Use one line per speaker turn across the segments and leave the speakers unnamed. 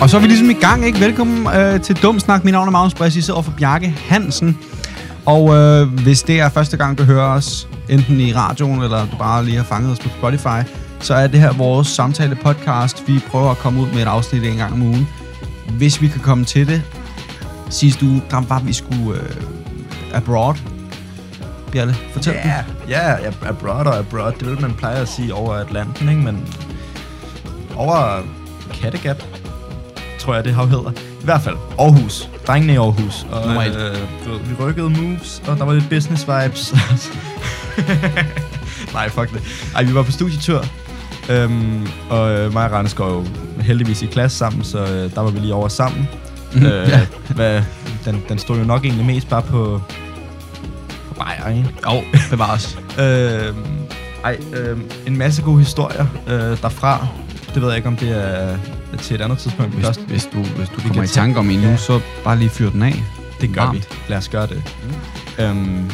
Og så er vi ligesom i gang, ikke? Velkommen øh, til Dum Snak. Mit navn er Magnus Bress. Jeg sidder over for Bjarke Hansen. Og øh, hvis det er første gang, du hører os, enten i radioen, eller du bare lige har fanget os på Spotify, så er det her vores samtale-podcast. Vi prøver at komme ud med et afsnit en gang om ugen. Hvis vi kan komme til det. Sidste uge, der var vi skulle øh, abroad. Bjarle, fortæl yeah.
Ja, ja, ab- abroad og abroad, det vil man plejer at sige over Atlanten, ikke? Men over Kattegat, tror jeg det har hedder. I hvert fald Aarhus. Drengene i Aarhus. Og, øh,
Nummer et.
du ved, vi rykkede moves, og der var lidt business vibes. Nej, fuck det. Ej, vi var på studietur. Øhm, og øh, mig og Randers går jo heldigvis i klasse sammen, så øh, der var vi lige over sammen. øh,
Ja.
hvad, den, den stod jo nok egentlig mest bare på, på bajer, ikke?
Jo, bevares.
Øh, ej, øh, en masse gode historier øh, derfra. Det ved jeg ikke, om det er til et andet tidspunkt.
Hvis,
Først,
hvis du, hvis du
kan
kommer i
tage-
tanke om en nu,
Ja.
så bare lige fyr den af.
det gør vi.
varmt.
Lad os gøre det. Mm. Øhm,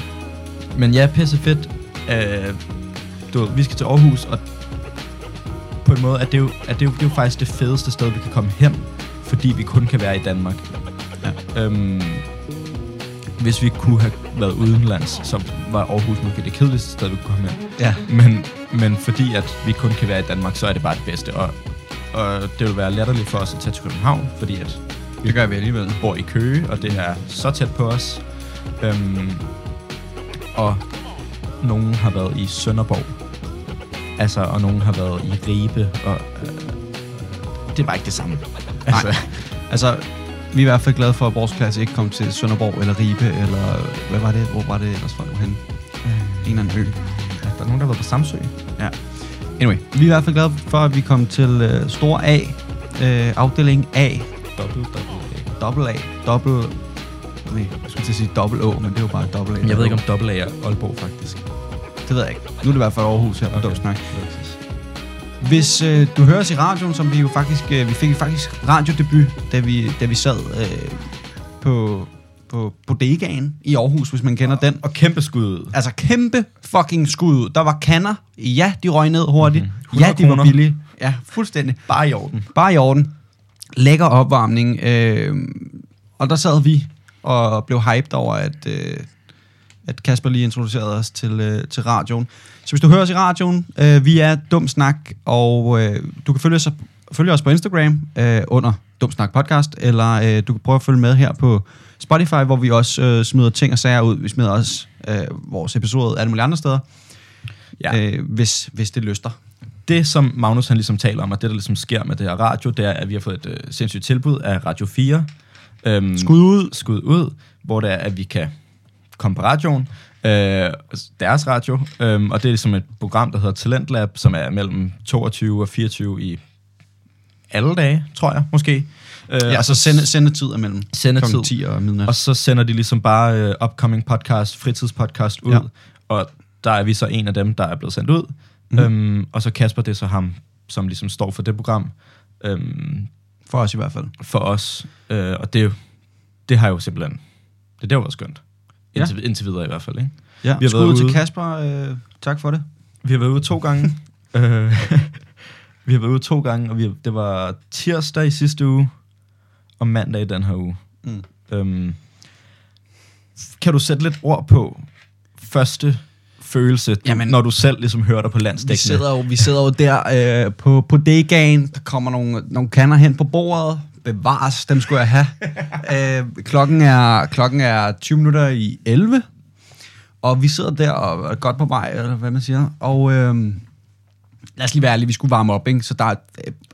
men ja, pisse fedt. Øh, du, ved, vi skal til Aarhus, og på en måde er det, jo, er det, jo, det er jo faktisk det fedeste sted, vi kan komme hen, fordi vi kun kan være i Danmark. Ja. Øhm, hvis vi kunne have været udenlands, så var Aarhus måske det kedeligste sted, vi kunne komme hen.
Ja.
Men, men fordi at vi kun kan være i Danmark, så er det bare det bedste. Og, og det vil være latterligt for os at tage til København, fordi at
Det gør vi alligevel.
vi bor i Køge, og det er så tæt på os. Øhm, og nogen har været i Sønderborg. Altså, og nogen har været i Ribe, og øh, det er bare ikke det samme. Altså,
Altså, vi er i hvert fald glade for, at vores klasse ikke kom til Sønderborg eller Ribe, eller øh, hvad var det? Hvor var det ellers var det henne? En eller anden ø.
der er nogen, der har været på Samsø.
Ja. Anyway, vi er i hvert fald glade for, at vi kom til øh, Stor A, øh, afdeling A,
Dobbelt, dobbelt.
dobbelt A, dobbelt... Nej, jeg skulle til at sige dobbelt Å, men det er jo bare dobbelt A.
Jeg ved ikke, om dobbelt er Aalborg, faktisk.
Det ved jeg ikke. Nu er det i hvert fald Aarhus her på okay. Snak. Hvis øh, du hører os i radioen, som vi jo faktisk, øh, vi fik faktisk radiodebut, da vi, da vi sad øh, på, på bodegaen i Aarhus, hvis man kender den.
Og kæmpe skud.
Altså kæmpe fucking skud ud. Der var kanner. Ja, de røg ned hurtigt. Mm-hmm.
100
Ja, de var
kroner.
billige. Ja, fuldstændig.
Bare i orden.
Bare i orden. Lækker opvarmning. Øh, og der sad vi og blev hyped over, at, øh, at Kasper lige introducerede os til, øh, til radioen. Så hvis du hører os i radioen, øh, vi er Dum Snak, og øh, du kan følge os, følge os på Instagram øh, under Dum Snak Podcast, eller øh, du kan prøve at følge med her på Spotify, hvor vi også øh, smider ting og sager ud. Vi smider også øh, vores episode alle mulige andre steder,
Ja.
øh, hvis, hvis det lyster.
det, som Magnus han ligesom taler om, og det, der ligesom sker med det her radio, det er, at vi har fået et øh, sindssygt tilbud af Radio 4. Øhm,
Skud ud.
Skud ud, hvor det er, at vi kan komme på radioen, øh, deres radio, øhm, og det er ligesom et program, der hedder Talentlab, som er mellem 22 og 24 i alle dage, tror jeg, måske. Øh,
Ja,
og
altså sende, sendetid er mellem
Sendetid.
klokken 10 og midnat.
og så sender de ligesom bare øh, upcoming podcast, fritidspodcast ud,
Ja.
ja. og der er vi så en af dem, der er blevet sendt ud.
Mhm.
Mm. Øhm, og så Kasper, det er så ham, som ligesom står for det program øhm,
For os i hvert fald.
for os. Øh, og det, er jo- det har jo simpelthen, det der var skønt.
Ja.
Indtil, ja. indtil videre i hvert fald, ikke?
Ja,
Vi har
skud
været
ud til
ude.
Kasper. Øh, tak for det.
Vi har været ude to gange. øh, vi har været ude to gange, og vi, det var tirsdag i sidste uge, og mandag i den her uge.
Mm.
Øhm, kan du sætte lidt ord på første følelse, du,
Jamen-
Jamen, når du selv ligesom hører dig på landsdækkende?
Vi sidder, jo, vi sidder jo der øh, på, på degaen. Der kommer nogle, nogle kander hen på bordet. Bevares, dem skulle jeg have. øh, klokken, er, klokken er 20 minutter i 11. Og vi sidder der og er godt på vej, eller hvad man siger. Og øh, lad os lige være ærlige, vi skulle varme op, ikke? Så der er,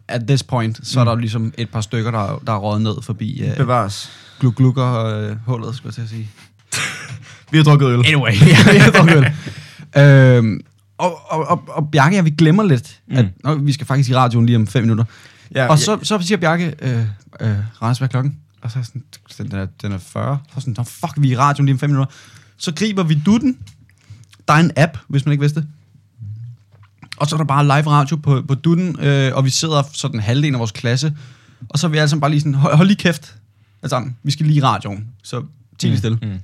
at this point, så er der jo ligesom et par stykker, der, der er røget ned forbi øh,
Bevares.
gluk-glukker-hullet, øh, skulle jeg til at sige.
Vi har drukket øl.
Anyway, ja, jeg druk øl. øhm, og, og, og, og Bjarke, ja, vi glemmer lidt, mm. at nå, vi skal faktisk i radioen lige om fem minutter.
Ja,
Ja, og
ja.
så, så siger Bjarke, øh, øh, Randers, hvad er klokken? Og så er jeg sådan, den- den er, den er 40. Så er jeg sådan, nå fuck, vi er i radioen lige om fem minutter. Så griber vi dutten. Der er en app, hvis man ikke vidste det. Og så er der bare live radio på, på dutten, øh, og vi sidder sådan halvdelen af vores klasse. Og så er vi alle sammen bare lige sådan, hold, hold lige kæft. Alle sammen, vi skal lige i radioen. Så tig lige stille. Mm,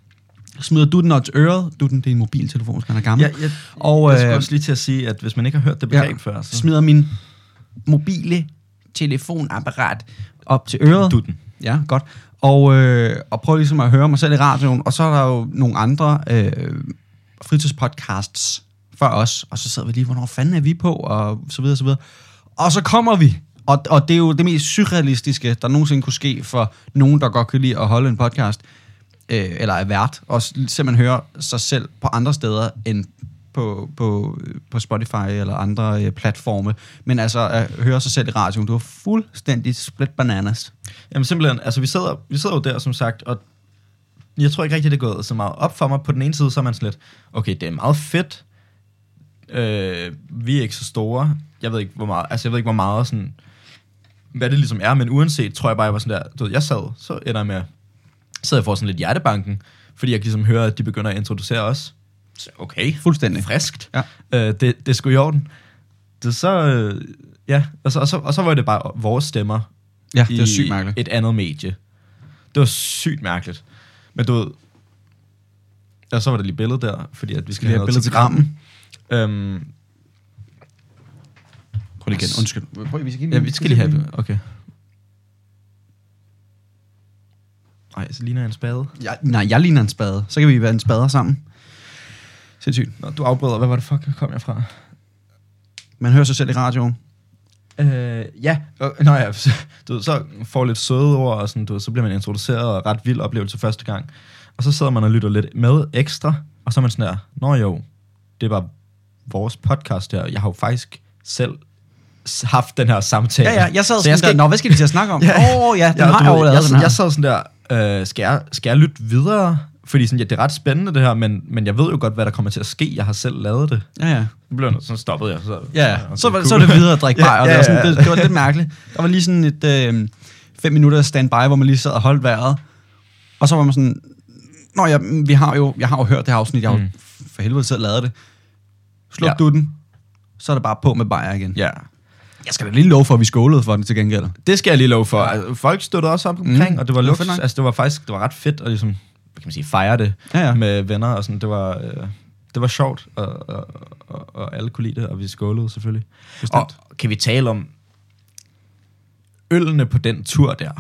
Smider dutten og til øret. Dutten, det er en mobiltelefon, hvis man er gammel.
Ja, jeg,
og
jeg skulle
øh,
også lige til at sige, at hvis man ikke har hørt det begreb ja. før, så...
smider min mobile telefonapparat op til øret.
Dutten.
Ja, godt. Og, øh, og prøv ligesom at høre mig selv i radioen. Og så er der jo nogle andre øh, fritidspodcasts før os. Og så sidder vi lige, hvornår fanden er vi på? Og så videre, så videre. Og så kommer vi. Og, og det er jo det mest surrealistiske, der nogensinde kunne ske for nogen, der godt kan lide at holde en podcast. Øh, eller er vært. Og s- simpelthen høre sig selv på andre steder end på, på, på Spotify eller andre øh, platforme. Men altså at høre sig selv i radioen. Du er fuldstændig split bananas.
Jamen simpelthen, altså vi sidder, vi sidder jo der som sagt, og jeg tror ikke rigtig, det er gået så meget op for mig. På den ene side, så er man sådan lidt, okay, det er meget fedt. Øh, vi er ikke så store. Jeg ved ikke, hvor meget, altså jeg ved ikke, hvor meget sådan, hvad det ligesom er, men uanset, tror jeg bare, jeg var sådan der, du ved, jeg sad, så ender jeg med, så jeg får sådan lidt hjertebanken, fordi jeg kan ligesom høre, at de begynder at introducere os. Så okay,
Fuldstændig.
friskt.
Ja.
Øh, det, det er sgu i orden. Det så, øh, ja, og så, og, så, og så var det bare vores stemmer
Ja, det
i
er sygt mærkeligt.
et andet medie. Det var sygt mærkeligt. Men du ved, og så var der lige billedet der, fordi at vi skal
lige have
have noget
billede til grammen.
Øhm,
Prøv lige igen, undskyld. Prøv, vi skal,
ja, vi skal lige
Mm.
have Okay. Nej, så ligner jeg en spade.
Jeg, nej, jeg ligner en spade. Så kan vi være en spader sammen. Sindssygt.
Nå, du afbryder. Hvad var det fuck, kom jeg fra?
Man hører sig selv i radioen.
Øh, ja. Øh, Nå ja, du ved, så får lidt søde ord, og sådan, du ved, så bliver man introduceret, og ret vild oplevelse første gang. Og så sidder man og lytter lidt med ekstra, og så er man sådan der, nå jo, det var vores podcast her, jeg har jo faktisk selv s- haft den her samtale.
Ja, ja, jeg sad
Så
sådan
jeg skal
der, nå, hvad skal vi til at snakke om? Åh, ja, oh, ja, den
du
har jeg
ved,
jo lavet,
jeg,
den
jeg,
her.
jeg sad sådan der, øh, skal, jeg, skal jeg lytte videre? Fordi sådan, ja, det er ret spændende det her, men, men jeg ved jo godt, hvad der kommer til at ske. Jeg har selv lavet det.
Ja, ja.
Nu blev jeg nødt- sådan stoppede jeg. Så,
Ja, ja.
okay,
Så, var,
cool.
så var det videre at drikke
Ja,
bajer. og det,
ja,
var sådan,
ja.
det, det var lidt mærkeligt. Der var lige sådan et øh, fem minutter standby, hvor man lige sad og holdt vejret. Og så var man sådan, nå ja, mm, vi har jo, jeg har jo hørt det her afsnit, jeg har jo
Mm.
for helvede selv lavet det. Sluk
Ja.
ja. du den, så er det bare på med bajer igen.
Ja.
Jeg skal da lige love for, at vi skålede for den til gengæld.
Det skal jeg lige love for. Altså, folk støttede også op omkring,
Mm.
mm. og det var
Det var
luksus.
fedt nok.
Altså, det var faktisk det var ret fedt at ligesom, hvad kan man sige, fejre det
Ja, ja.
med venner og sådan. Det var, øh, det var sjovt, og, og, og, og alle kunne lide det, og vi skålede selvfølgelig.
Bestemt.
Og kan vi tale om ølene på den tur der?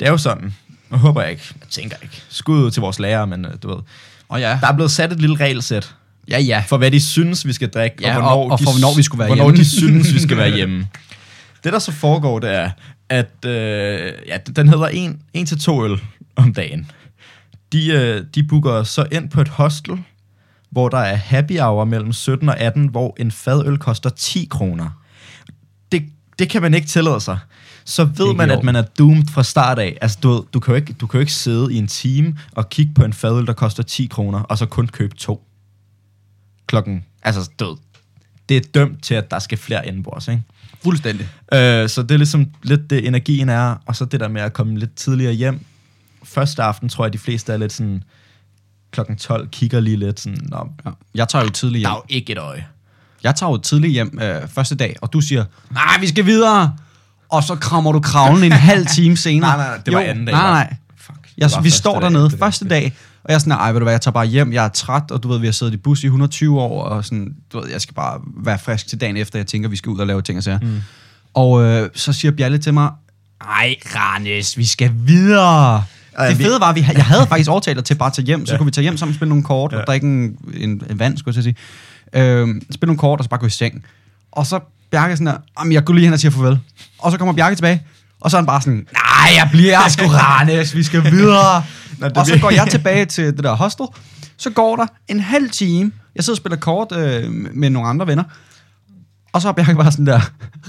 Det er jo sådan, jeg håber jeg ikke, jeg tænker ikke, skud ud til vores lærer, men øh, du ved,
Og ja.
der er blevet sat et lille regelsæt
Ja, ja.
for hvad de synes, vi skal drikke,
Ja,
og, hvornår,
og- og
de,
for, hvornår vi skulle være
hvornår
hjemme.
de synes, vi skal være hjemme. Det, der så foregår, det er, at øh, ja, d- den hedder en, en til to øl om dagen. De, øh, de booker så ind på et hostel, hvor der er happy hour mellem 17 og 18, hvor en fadøl koster 10 kroner. Det, det kan man ikke tillade sig. Så ved
ikke
man,
i
at
orden.
man er doomed fra start af. Altså, du, ved, du, kan jo ikke, du kan jo ikke sidde i en time og kigge på en fadøl, der koster 10 kroner, og så kun købe to klokken, altså død. Det er dømt til, at der skal flere indenbords, ikke?
Fuldstændig.
Øh, så det er ligesom lidt det, energien er, og så det der med at komme lidt tidligere hjem. Første aften tror jeg, de fleste er lidt sådan, klokken 12 kigger lige lidt sådan, Nå,
Ja. Jeg tager jo tidligt
der er
hjem.
jo ikke et øje.
Jeg tager jo tidligt hjem øh, første dag, og du siger, nej, vi skal videre. Og så krammer du kravlen en halv time senere.
det var
Jo,
anden dag.
Nej,
var-
nej.
Fuck, det
Jeg,
var
vi
første
står
dag,
dernede
det der.
første dag, og jeg er sådan, ej, ved du hvad, jeg tager bare hjem, jeg er træt, og du ved, vi har siddet i bus i 120 år, og sådan, du ved, jeg skal bare være frisk til dagen efter, jeg tænker, vi skal ud og lave ting og sager. Mm. Og øh, så siger Bjalle til mig, ej, Randes, vi skal videre.
Ej,
det
vi-
fede var, at vi, ha- jeg havde faktisk overtalt dig til bare at tage hjem, så kunne vi tage hjem sammen, spille nogle kort,
Ja.
og drikke en, en, en vand, skulle jeg til at sige. Øhm, spille nogle kort, og så bare gå i seng. Og så Bjarke er sådan der, "Jamen, jeg går lige hen og siger farvel. Og så kommer Bjarke tilbage, og så er han bare sådan, nej, jeg bliver sgu Randes, vi skal videre.
Nå, det
og så
bliver-
går jeg tilbage til det der hostel, så går der en halv time, jeg sidder og spiller kort øh, med nogle andre venner, og så har Bjarke bare sådan der,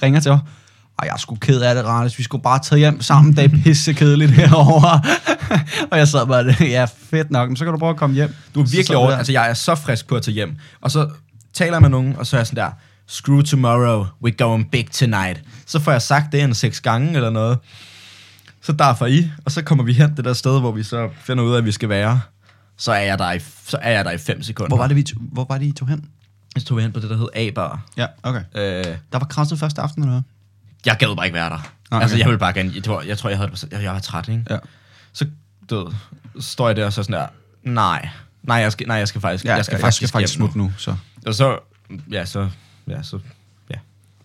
ringer til mig, og jeg er sgu ked af det, Randes. Vi skulle bare tage hjem sammen. Det er pisse kedeligt herovre. og jeg sad bare, ja, fedt nok. Men så kan du prøve at komme hjem.
Du er
Så sad
virkelig
vi
over,
der.
altså jeg er så frisk på at tage hjem. Og så taler jeg med nogen, og så er jeg sådan der, screw tomorrow, we going big tonight. Så får jeg sagt det en seks gange eller noget. Så derfor I, og så kommer vi hen det der sted, hvor vi så finder ud af, at vi skal være. Så er jeg der i, så er jeg der i fem sekunder.
Hvor var det, vi to, hvor var det, I tog hen?
Så tog vi hen på det, der hed A-bar.
Ja, okay.
Øh,
Der var krasset første aften, eller hvad?
jeg gad bare ikke være der.
okay.
Altså, jeg ville bare gerne... Jeg tror, jeg, tror, jeg, havde, det på- jeg, jeg var træt, ikke?
Ja.
Så du ved, står jeg der og så sådan der, nej, nej, jeg skal, nej, jeg skal faktisk,
Ja, jeg skal, jeg faktisk, jeg skal faktisk
hjem nu.
smutte nu. så.
Og så, ja, så, ja, så, ja.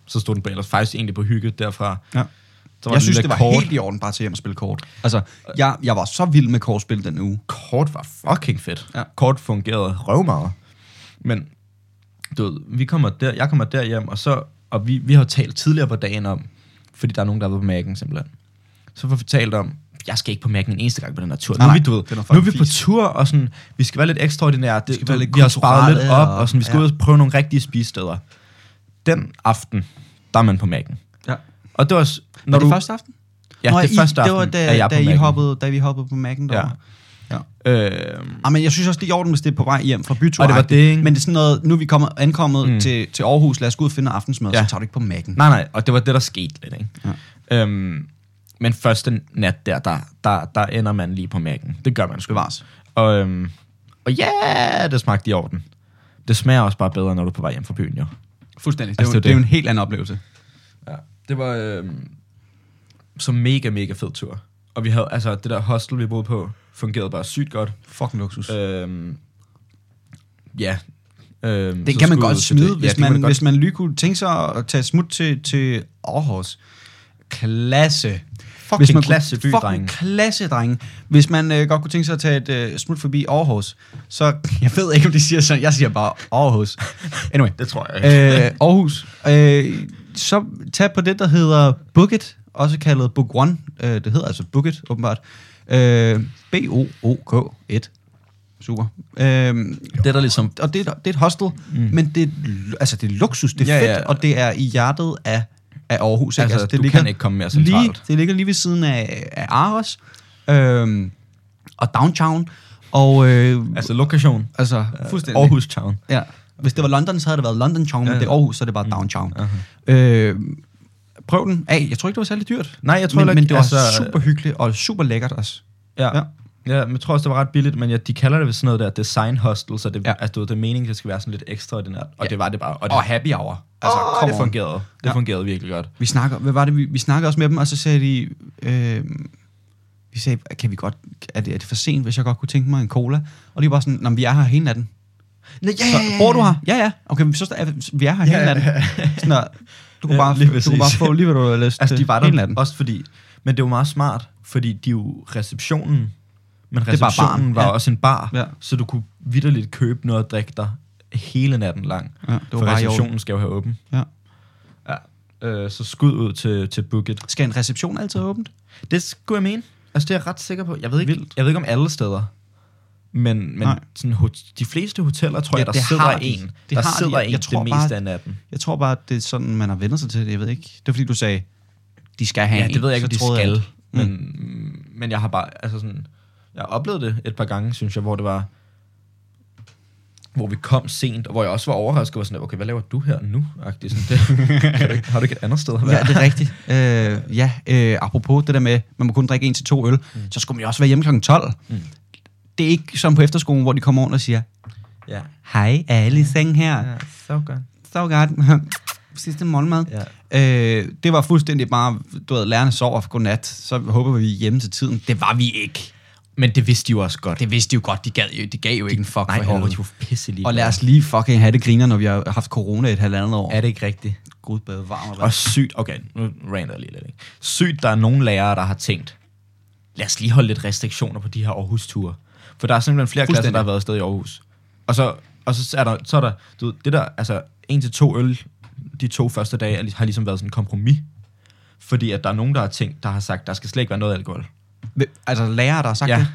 så stod den på ellers faktisk egentlig på hygge derfra.
Ja.
Så
Jeg
den
synes,
lille
det var
kort.
helt i orden bare til hjem og spille kort. Altså, jeg, jeg var så vild med kortspil den uge.
kort var fucking fedt.
Ja.
Kort fungerede røvmeget. Men du ved, vi kommer der, jeg kommer derhjem, og så og vi, vi har jo talt tidligere på dagen om, fordi der er nogen, der har været på Mac'en simpelthen. Så får vi talt om, jeg skal ikke på Mac'en en eneste gang på den her tur.
Nej,
nu er
nej,
vi, du ved,
det er noget
nu er vi på
fucking fis.
tur, og sådan, vi skal være lidt ekstraordinære. Det,
skal
du
være
ved,
lidt
vi har sparet lidt op,
kulturelle, og-
og sådan, vi skal
ja.
ja. ud og prøve nogle rigtige spisesteder. Den aften, der er man på Mac'en.
Ja.
Og det var, s- når
Var det
du,
første aften?
ja,
Nå,
det
I-
er første aften,
Det var da,
er jeg
da,
på
I
Mac'en.
hoppede, da vi hoppede på Mac'en
Ja.
derovre. Ja.
Øh,
Ah, men jeg synes også, det er i orden, hvis det er på vej hjem fra bytur.
Og det var det, ikke?
Men det er sådan noget, nu er vi kommet, ankommet mm. til, til Aarhus, lad os gå ud og finde aftensmad, ja.
Ja.
så tager du ikke på Mac'en.
Nej, nej, og det var det, der skete lidt, ikke? Ja. Øhm, men første nat der, der, der, der ender man lige på mærken. Det gør man sgu.
Bevares.
Og, øhm, og ja, yeah, det smagte i orden. Det smager også bare bedre, når du er på vej hjem fra byen, jo.
Fuldstændig. det,
Altså,
er jo,
det
det
er
er jo
det.
en helt anden oplevelse.
Ja. Det var øhm, så mega, mega fed tur. Og vi havde, altså, det der hostel, vi boede på, fungerede bare sygt godt.
Fucking luksus. Øh,
Øhm, ja. Øhm,
den
så
kan man
skud ud
godt
til
smide,
det.
hvis,
det kan
man, hvis man lige kunne tænke sig at tage et smut til, til Aarhus. Klasse. Fucking
Hvis man kunne- fucking
fucking klasse, drenge. Hvis man øh, godt kunne tænke sig at tage et øh, smut forbi Aarhus, så jeg ved ikke, om de siger sådan. Jeg siger bare Aarhus. Anyway.
Det tror jeg ikke.
øh, Aarhus. Øh, så tag på det, der hedder Booket, også kaldet Book One. Øh, det hedder altså Booket, åbenbart. Øh, B-O-O-K-1. Super. Øh,
det er der ligesom
og det, er- det er et hostel, mm. men det, er lu- altså, det er luksus, det er
Ja,
ja, fedt,
ja.
ja. og det er i hjertet af, af Aarhus.
Altså,
det
du kan ikke komme mere centralt.
Lige, det ligger lige ved siden af, af Aros øhm, og Downtown, og øh,
Altså lokation.
altså fuldstændig.
Aarhus Town.
Ja. Hvis det var London, så havde det været London Town, ja, men
Ja, Mm. ja.
det er Aarhus, så er det bare Downtown. Øh, prøv den af. Jeg tror ikke, det var særlig dyrt.
Nej, jeg tror
Men,
heller
men
ikke-
det var
altså-
altså, super hyggeligt og super lækkert også.
Ja.
Ja.
ja. men jeg tror også, det var ret billigt, men ja, de kalder det ved sådan noget der design hostel, så det, ja.
Ja.
altså, du ved, det er meningen, det skal være sådan lidt ekstraordinært. Og ja.
Ja.
det var det bare. Og det,
Og happy hour. Altså,
altså,
kom
det fungerede. Det ja.
Ja.
fungerede virkelig godt.
Vi snakker, hvad var det, vi, vi snakkede også med dem, og så sagde de, øh, vi sagde, kan vi godt, er det, er det for sent, hvis jeg godt kunne tænke mig en cola? Og de var sådan, "Nå, men vi er her hele natten.
Nå, ja,
Så, bor du her? Ja, ja. Okay, men så er- vi er her hele
Ja, ja,
natten. Sådan, der, du, kan
Ja,
bare,
lige
du kan bare
præcis.
få lige, hvad du har lyst
Altså,
til
de var
hele
der
natten.
også fordi... Men det var meget smart, fordi de er jo receptionen, men
er bare
receptionen
baren,
var
ja.
også en bar,
Ja.
så du kunne vidderligt købe noget at drikke dig hele natten lang.
Ja, det var
for
bare i
receptionen skal jo have åben.
Ja.
Ja. Øh, så skud ud til, til Booket.
Skal en reception altid have åbent?
Det skulle jeg mene. Altså, det er jeg ret sikker på. Jeg ved ikke, Vildt. Jeg ved ikke om alle steder. Men, men
Nej.
sådan, hot- de fleste hoteller, tror
Ja,
jeg, der
det
sidder
har de.
en.
Det
der
har de.
sidder
Jeg
en
tror
det
bare-
meste af natten.
Jeg tror bare, det er sådan, man har vendt sig til det. Jeg ved ikke. Det er fordi, du sagde, de skal have
Ja,
en.
det ved jeg ikke, om
Så
de
troede jeg,
skal.
at-
Men, mm. men jeg har bare, altså sådan, jeg har oplevet det et par gange, synes jeg, hvor det var, hvor vi kom sent, og hvor jeg også var overrasket, og var sådan, okay, hvad laver du her nu? Agtigt, sådan, det, kan du ikke, har du ikke et andet sted at være?
Ja, det er rigtigt. Øh, ja, øh, apropos det der med, man må kun drikke en til to øl, mm. så skulle man jo også være hjemme kl. 12. Mm. Det er ikke som på efterskolen, hvor de kommer rundt og siger,
Ja,
hej, er alle i seng her?
ja så godt.
Så godt. Sidste morgenmad. Ja. Øh, det var fuldstændig bare, du ved, lærerne sover for godnat, så håber vi vi er hjemme til tiden. Det var vi ikke.
Men det vidste de jo også godt.
Det vidste de jo godt, de, gad jo, de gav jo ikke en fuck
Nej,
for
og
helvede.
de var pisse lige.
Og lad os lige fucking have det griner, når vi har haft corona i et halvandet år.
Er det ikke rigtigt?
Gud bevare mig.
Og sygt, okay, nu rander jeg lige lidt, ikke? Sygt, der er nogle lærere, der har tænkt, lad os lige holde lidt restriktioner på de her Aarhus-ture. For der er simpelthen flere klasser,
Fuldstændig.
der har været afsted i Aarhus. Og så, og så er der, så er der du ved, det der, altså en til to øl, de to første dage, er lig- har ligesom været sådan en kompromis. Fordi at der er nogen, der har tænkt, der har sagt, der skal slet ikke være noget alkohol.
Altså lærere, der har sagt
Ja.
det?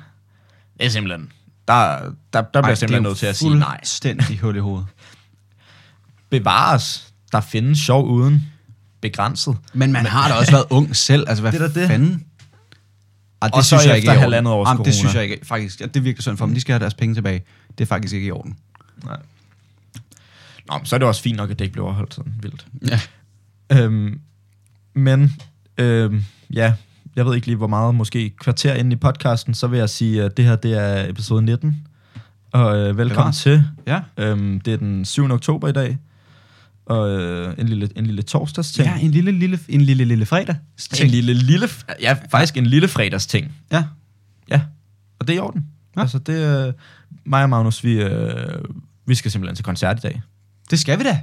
Det er simpelthen, der, der, der bliver
Ej,
Ej, simpelthen nødt til at sige, nej,
Fuldstændig hul i hovedet.
bevares, der findes sjov uden begrænset.
Men man har da også været ung selv. Altså, hvad
Det er da det.
fanden? Ej, det
Og så
synes jeg
efter
ikke er i orden.
halvandet års
Jamen, det
corona.
synes jeg ikke. Faktisk, ja, det virker sådan for dem. De skal have deres penge tilbage. Det er faktisk ikke i orden.
Nej. Nå, men så er det også fint nok, at det ikke blev overholdt sådan vildt.
Ja.
Øhm, men, øhm, ja, jeg ved ikke lige, hvor meget, måske et kvarter inde i podcasten, så vil jeg sige, at det her, det er episode 19. Og øh, velkommen
Bevares.
til.
Ja.
Øhm, det er den 7. oktober i dag. Og øh, en lille, en lille torsdagsting.
ja, en lille, lille, en lille, lille fredag.
en lille, lille, f- ja, faktisk en lille fredagsting.
Ja.
Ja, og det er i orden. Ja.
Ja.
Altså, det, øh, mig og Magnus, vi, øh, vi skal simpelthen til koncert i dag.
Det skal vi da.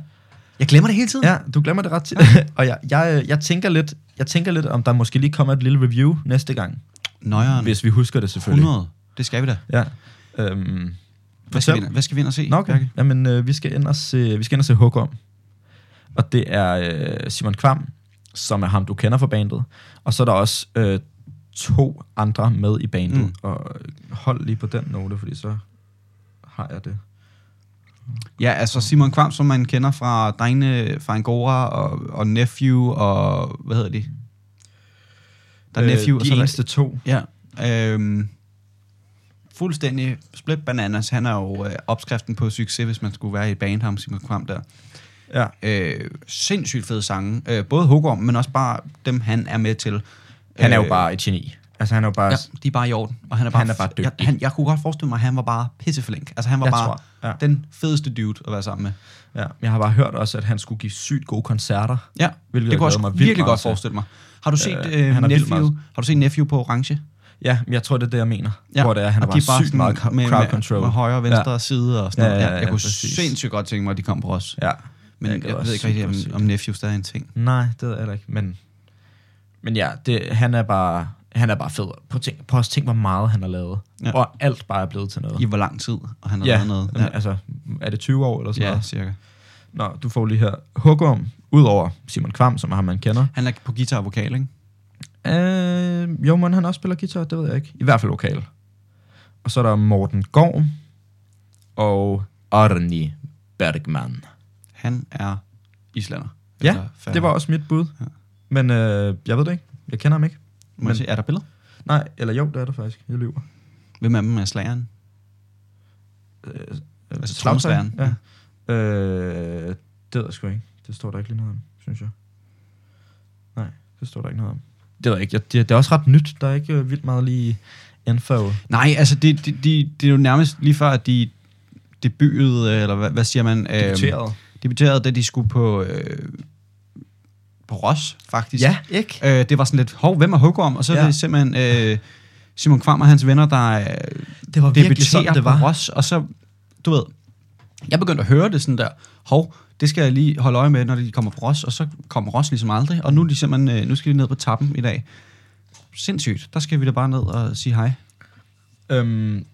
Jeg glemmer det hele tiden.
Ja, du glemmer det ret tit. og jeg, jeg, øh, jeg, tænker lidt, jeg tænker lidt, om der måske lige kommer et lille review næste gang.
Nøjeren.
Hvis vi husker det selvfølgelig.
100. Det skal vi da.
Ja. Øhm,
Hvad skal, vi, ind- hvad skal vi ind og se?
Nå, okay.
Bjarke?
Jamen, øh, vi skal ind og se, vi skal ind og se Hook om. Og det er øh, Simon Kvam, som er ham, du kender fra bandet. Og så er der også øh, to andre med i bandet.
Mm.
Mm. Og hold lige på den note, fordi så har jeg det.
Ja, altså Simon Kvam, som man kender fra drengene fra Angora og, og Nephew og... Hvad hedder de? Der er øh, Nephew og
de
så er der-
eneste to.
Ja. Øhm, fuldstændig split bananas. Han er jo øh, opskriften på succes, hvis man skulle være i et band, ham Simon Kvam der.
Ja.
Øh, sindssygt fede sange. Øh, både Hugorm, men også bare dem, han er med til.
Han er jo
Øh,
bare et geni. Altså, han er jo bare...
Ja,
Ja,
de er bare i orden. Og han er bare,
Han er bare dygtig.
Jeg, han, jeg kunne godt forestille mig, at han var bare pisseflink. Altså, han var
Jeg
bare
tror, ja.
den fedeste dude at være sammen med.
ja. Jeg har bare hørt også, at han skulle give sygt gode koncerter.
Ja,
Hvilket
Hvilket det
jeg
kunne jeg
glæder
også
mig vildt
virkelig
meget
godt
til.
forestille mig. Har du set, øh,
han
øh,
er vild
nephew,
meget.
har du set Nephew på Orange?
Ja, men jeg tror, det er det, jeg mener.
Ja,
Ja. Hvor det er, han er
og de
bare,
bare
sygt
sådan
meget
med,
crowd control.
Med, med højre og venstre ja. side og sådan noget. Ja, ja, ja, jeg kunne
præcis.
sindssygt godt tænke mig, at de kom på os.
Ja.
Men jeg,
kan
jeg
også
ved ikke
sygt
rigtig,
godt se
om,
det.
om Nephew stadig er en ting.
Nej, det ved jeg heller ikke, men... Men ja, det, han er bare... Han er bare fed. På, tænk, på også tænk, hvor meget han har lavet.
Ja.
Ja. Og alt bare er blevet til noget.
I hvor lang tid, og han har
ja,
lavet noget.
ja, altså, er det 20 år eller sådan
Ja, ja,
noget?
cirka.
Nå, du får lige her Hugum, udover Simon Kvam, som er ham, man kender.
Han er på guitar og vokal, ikke?
Øh, jo, men han også spiller guitar, det ved jeg ikke. I hvert fald lokal. Og så er der Morten Gorm og Arni Bergman.
Han er islander.
Ja,
Eller færre.
Det var også mit bud.
Ja.
Men øh, jeg ved det ikke. Jeg kender ham ikke.
Må jeg
men-
se, er der billeder?
Nej, eller jo, det er der faktisk. Jeg lyver.
Hvem af dem er slageren?
Øh,
Altså
Slagtøj,
trommeslageren.
Ja. Øh, det ved jeg sgu ikke. Det står der ikke lige noget om, synes jeg. Nej, det står der ikke noget om. Det ved jeg ikke. Jeg, det, det er også ret nyt. Der er ikke øh, vildt meget lige info.
Nej, altså, det, det, de, det er jo nærmest lige før, at de debutede, øh, eller hvad, hvad siger man? Øhm,
Debuteret.
Debuterede, da de skulle på, øh, på Ros, faktisk.
Ja, ikke?
Øh, det var sådan lidt, hov, hvem er Hugorm? Og så ja. er
Ja.
det simpelthen øh, Simon Kvam og hans venner, der øh,
Det var
debuterer det var. på Ros. Og så, du ved, jeg begyndte at høre det sådan der, hov, det skal jeg lige holde øje med, når de kommer på Ros. Og så kommer Ros ligesom aldrig. Og nu, er de simpelthen, øh, nu skal de ned på tappen i dag. Sindssygt. Der skal vi da bare ned og sige hej.
Øhm,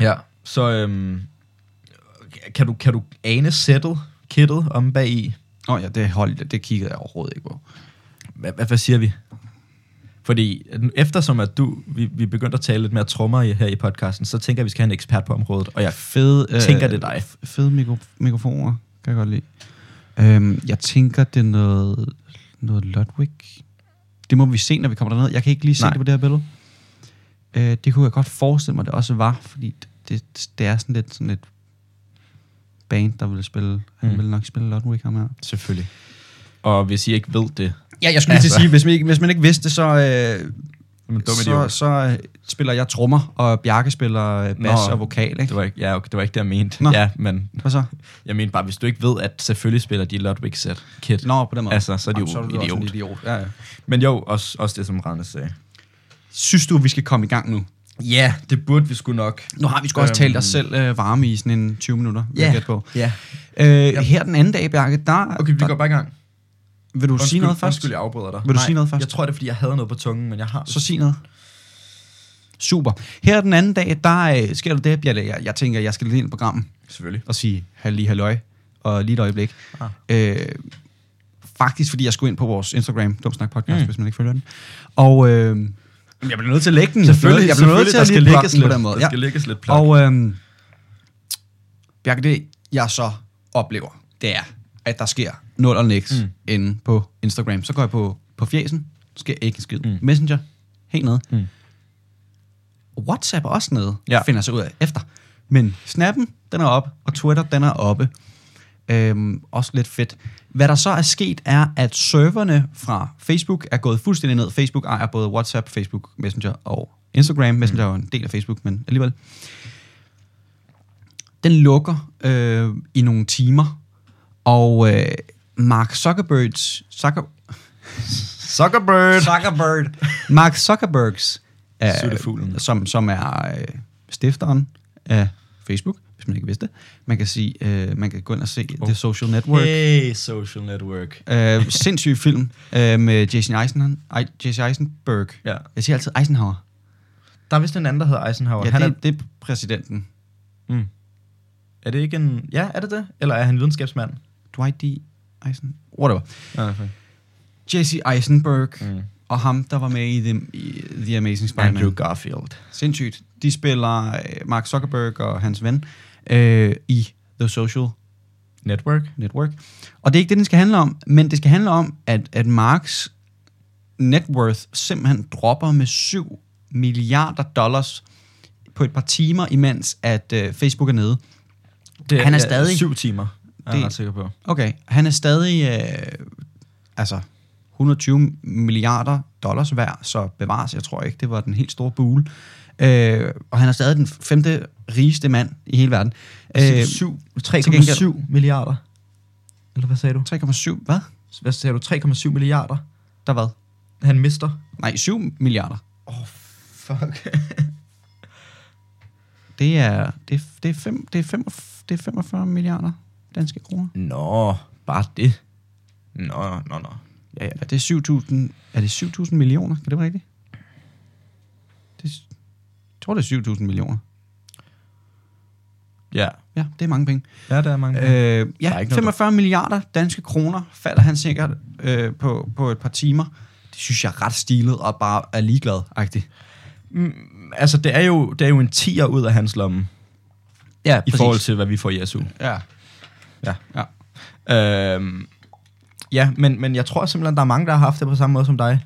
ja, så øhm, kan, du, kan du ane sættet, kittet om bag i?
Nå ja, det holdt, det kiggede jeg overhovedet ikke på.
Hvad, hvad, hvad siger vi? Fordi øh, eftersom at du, vi, vi begyndte at tale lidt mere trommer i, her i podcasten, så tænker jeg, at vi skal have en ekspert på området. Og jeg
Fede,
Tænker det dig.
f- Fede mikro- mikrofoner, kan jeg godt lide. Øhm, jeg tænker, det er noget, noget Ludwig. Det må vi se, når vi kommer derned. Jeg kan ikke lige se Nej.
Nej.
det på det her billede. Øh, det kunne jeg godt forestille mig, det også var, fordi det, det er sådan lidt, sådan lidt band, der ville spille. Mm. Han
Mm.
ville nok spille Ludwig, ham her.
Selvfølgelig. Og hvis I ikke ved det,
Ja, jeg skulle altså. lige til at sige, hvis man ikke, hvis man ikke vidste det, så, øh,
men dumme
så,
idiot.
så øh, spiller jeg trommer, og Bjarke spiller øh, bas
Nå.
og vokal, ikke?
Det var ikke, ja, okay, det var ikke det, jeg mente.
Nå.
Nå. Ja, men
Hvad så?
jeg mente bare, hvis du ikke ved, at selvfølgelig spiller de Ludwig set kit.
Nå, på den måde.
Altså, så er de
Jamen,
jo
du da også en
idiot.
idiot. Ja, ja.
Men jo, også, også det, som Randers sagde.
Synes du, vi skal komme i gang nu?
Ja, det burde vi sgu nok.
Nu har vi sgu også
Øhm.
talt os selv øh, varme i sådan en 20 minutter, vil jeg gætte på.
ja.
Øh, Her den anden dag, Bjarke, der...
Okay, vi
der,
går bare i gang. Vil
Vil du sige noget først?
Undskyld, jeg afbryder dig.
Vil du sige noget først?
Jeg tror, det er, fordi jeg havde noget på tungen, men jeg har...
Så sig noget. Super. Her den anden dag, der øh, sker der det, Bjarke. Jeg, jeg tænker, jeg skal lige ind i programmet
Selvfølgelig.
og sige halli halløj, og lige et øjeblik.
Ah.
Øh, faktisk, fordi jeg skulle ind på vores Instagram, Dumsnak Podcast, mm. hvis man ikke følger den. Og øh, jamen, jeg blev nødt til at lægge den.
Selvfølgelig,
jeg blev nødt til at lige plukke den på
lidt,
den måde.
Der
Ja.
skal lægges lidt plak.
Og øhm, Bjarke, det jeg så oplever, det er, at der sker 0 og niks mm. inde på Instagram. Så går jeg på, på fjesen, sker ikke en skid. Mm. Messenger, helt nede. Mm.
Mm.
WhatsApp er også nede, ja.
Ja.
finder jeg så ud af efter. Men Snappen, den er op, og Twitter, den er oppe. Øhm, også lidt fedt. Hvad der så er sket, er, at serverne fra Facebook er gået fuldstændig ned. Facebook ejer både WhatsApp, Facebook Messenger og Instagram. Messenger er jo en del af Facebook, men alligevel den lukker øh, i nogle timer, og øh, Mark Zuckerbergs, Zucker,
Zuckerberg!
Zuckerberg, Mark Zuckerbergs, øh,
Suttefuglen.
som, som er øh, stifteren af Facebook, hvis man ikke vidste det. Man kan, sige, øh, man kan gå ind og se oh.
Oh.
The Social Network.
Hey, social network.
Øh, sindssyg film øh, med Jason, Eisenhan, Ej, Jason Eisenberg.
Ja.
Jeg siger altid Eisenhower.
Der er vist en anden, der hedder Eisenhower.
Ja,
han
det, er, det er præsidenten.
er, mm. er det ikke en... Ja, er det det? Eller er han videnskabsmand?
Dwight D. Eisen... Whatever.
Ja, okay.
Jesse Eisenberg
Mm.
mm. og ham, der var med i The, i The Amazing Spider-Man.
Andrew Garfield.
Sindssygt. De spiller øh, Mark Zuckerberg og hans ven øh, i The Social
Network?
Network. Og det er ikke det, den skal handle om, men det skal handle om, at, at Marks net worth simpelthen dropper med 7 milliarder dollars på et par timer, imens at øh, Facebook er nede.
Det
Han er
ja,
stadig-
Syv timer, er jeg
Det-
ret sikker på.
Okay, han er stadig øh, altså 120 milliarder dollars værd, så bevares, jeg tror ikke, det var den helt store bule. Øh, og han er stadig den femte rigeste mand i hele verden. Øh,
3,7 milliarder. Eller hvad sagde du?
3,7, hvad?
Hvad sagde du? 3,7 milliarder?
Der hvad?
Han mister.
Nej, 7 milliarder.
Åh, oh, fuck.
Det er, det, er- det, er fem, det, er fem, det er 45 milliarder danske kroner.
Nå, bare det. Nå, nå, nå. Ja, ja.
Ja, det er 7.000, er det 7.000 millioner? Kan det være rigtigt? Det, er s- jeg tror, det er 7.000 millioner.
Ja,
Ja, det er mange penge.
ja der er mange. Øh,
Øh,
Der er
ja,
ikke noget,
45 milliarder danske kroner falder han sikkert øh, på, på et par timer. Det synes jeg er ret stilet og bare er ligeglad -agtigt.
altså, det er, jo, det er jo en 10'er ud af hans lomme,
Ja,
i forhold til, hvad vi får i SU.
Ja.
Ja.
ja.
Øhm, ja, men, men jeg tror simpelthen, der er mange, der har haft det på samme måde som dig.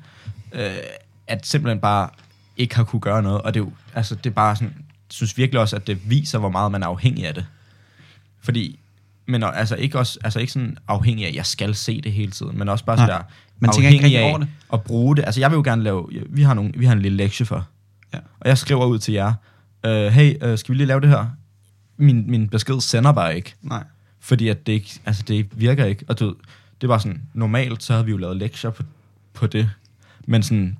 Øh, at simpelthen bare ikke har kunne gøre noget. Og det er jo, altså, det er bare sådan, jeg synes virkelig også, at det viser, hvor meget man er afhængig af det. Fordi, men og- altså ikke, også, altså ikke sådan afhængig af, at jeg skal se det hele tiden, men også bare
Nej.
sådan der,
Man tænker ikke rigtig over det.
at bruge det. Altså jeg vil jo gerne lave, vi har, nogle, vi har en lille lektie for,
Ja.
og jeg skriver ud til jer, øh, hey, øh, skal vi lige lave det her? Min, min besked sender bare ikke.
Nej.
Fordi at det, ikke, altså det virker ikke. Og du, ved, det var sådan, normalt så havde vi jo lavet lektier på, på det. Men sådan,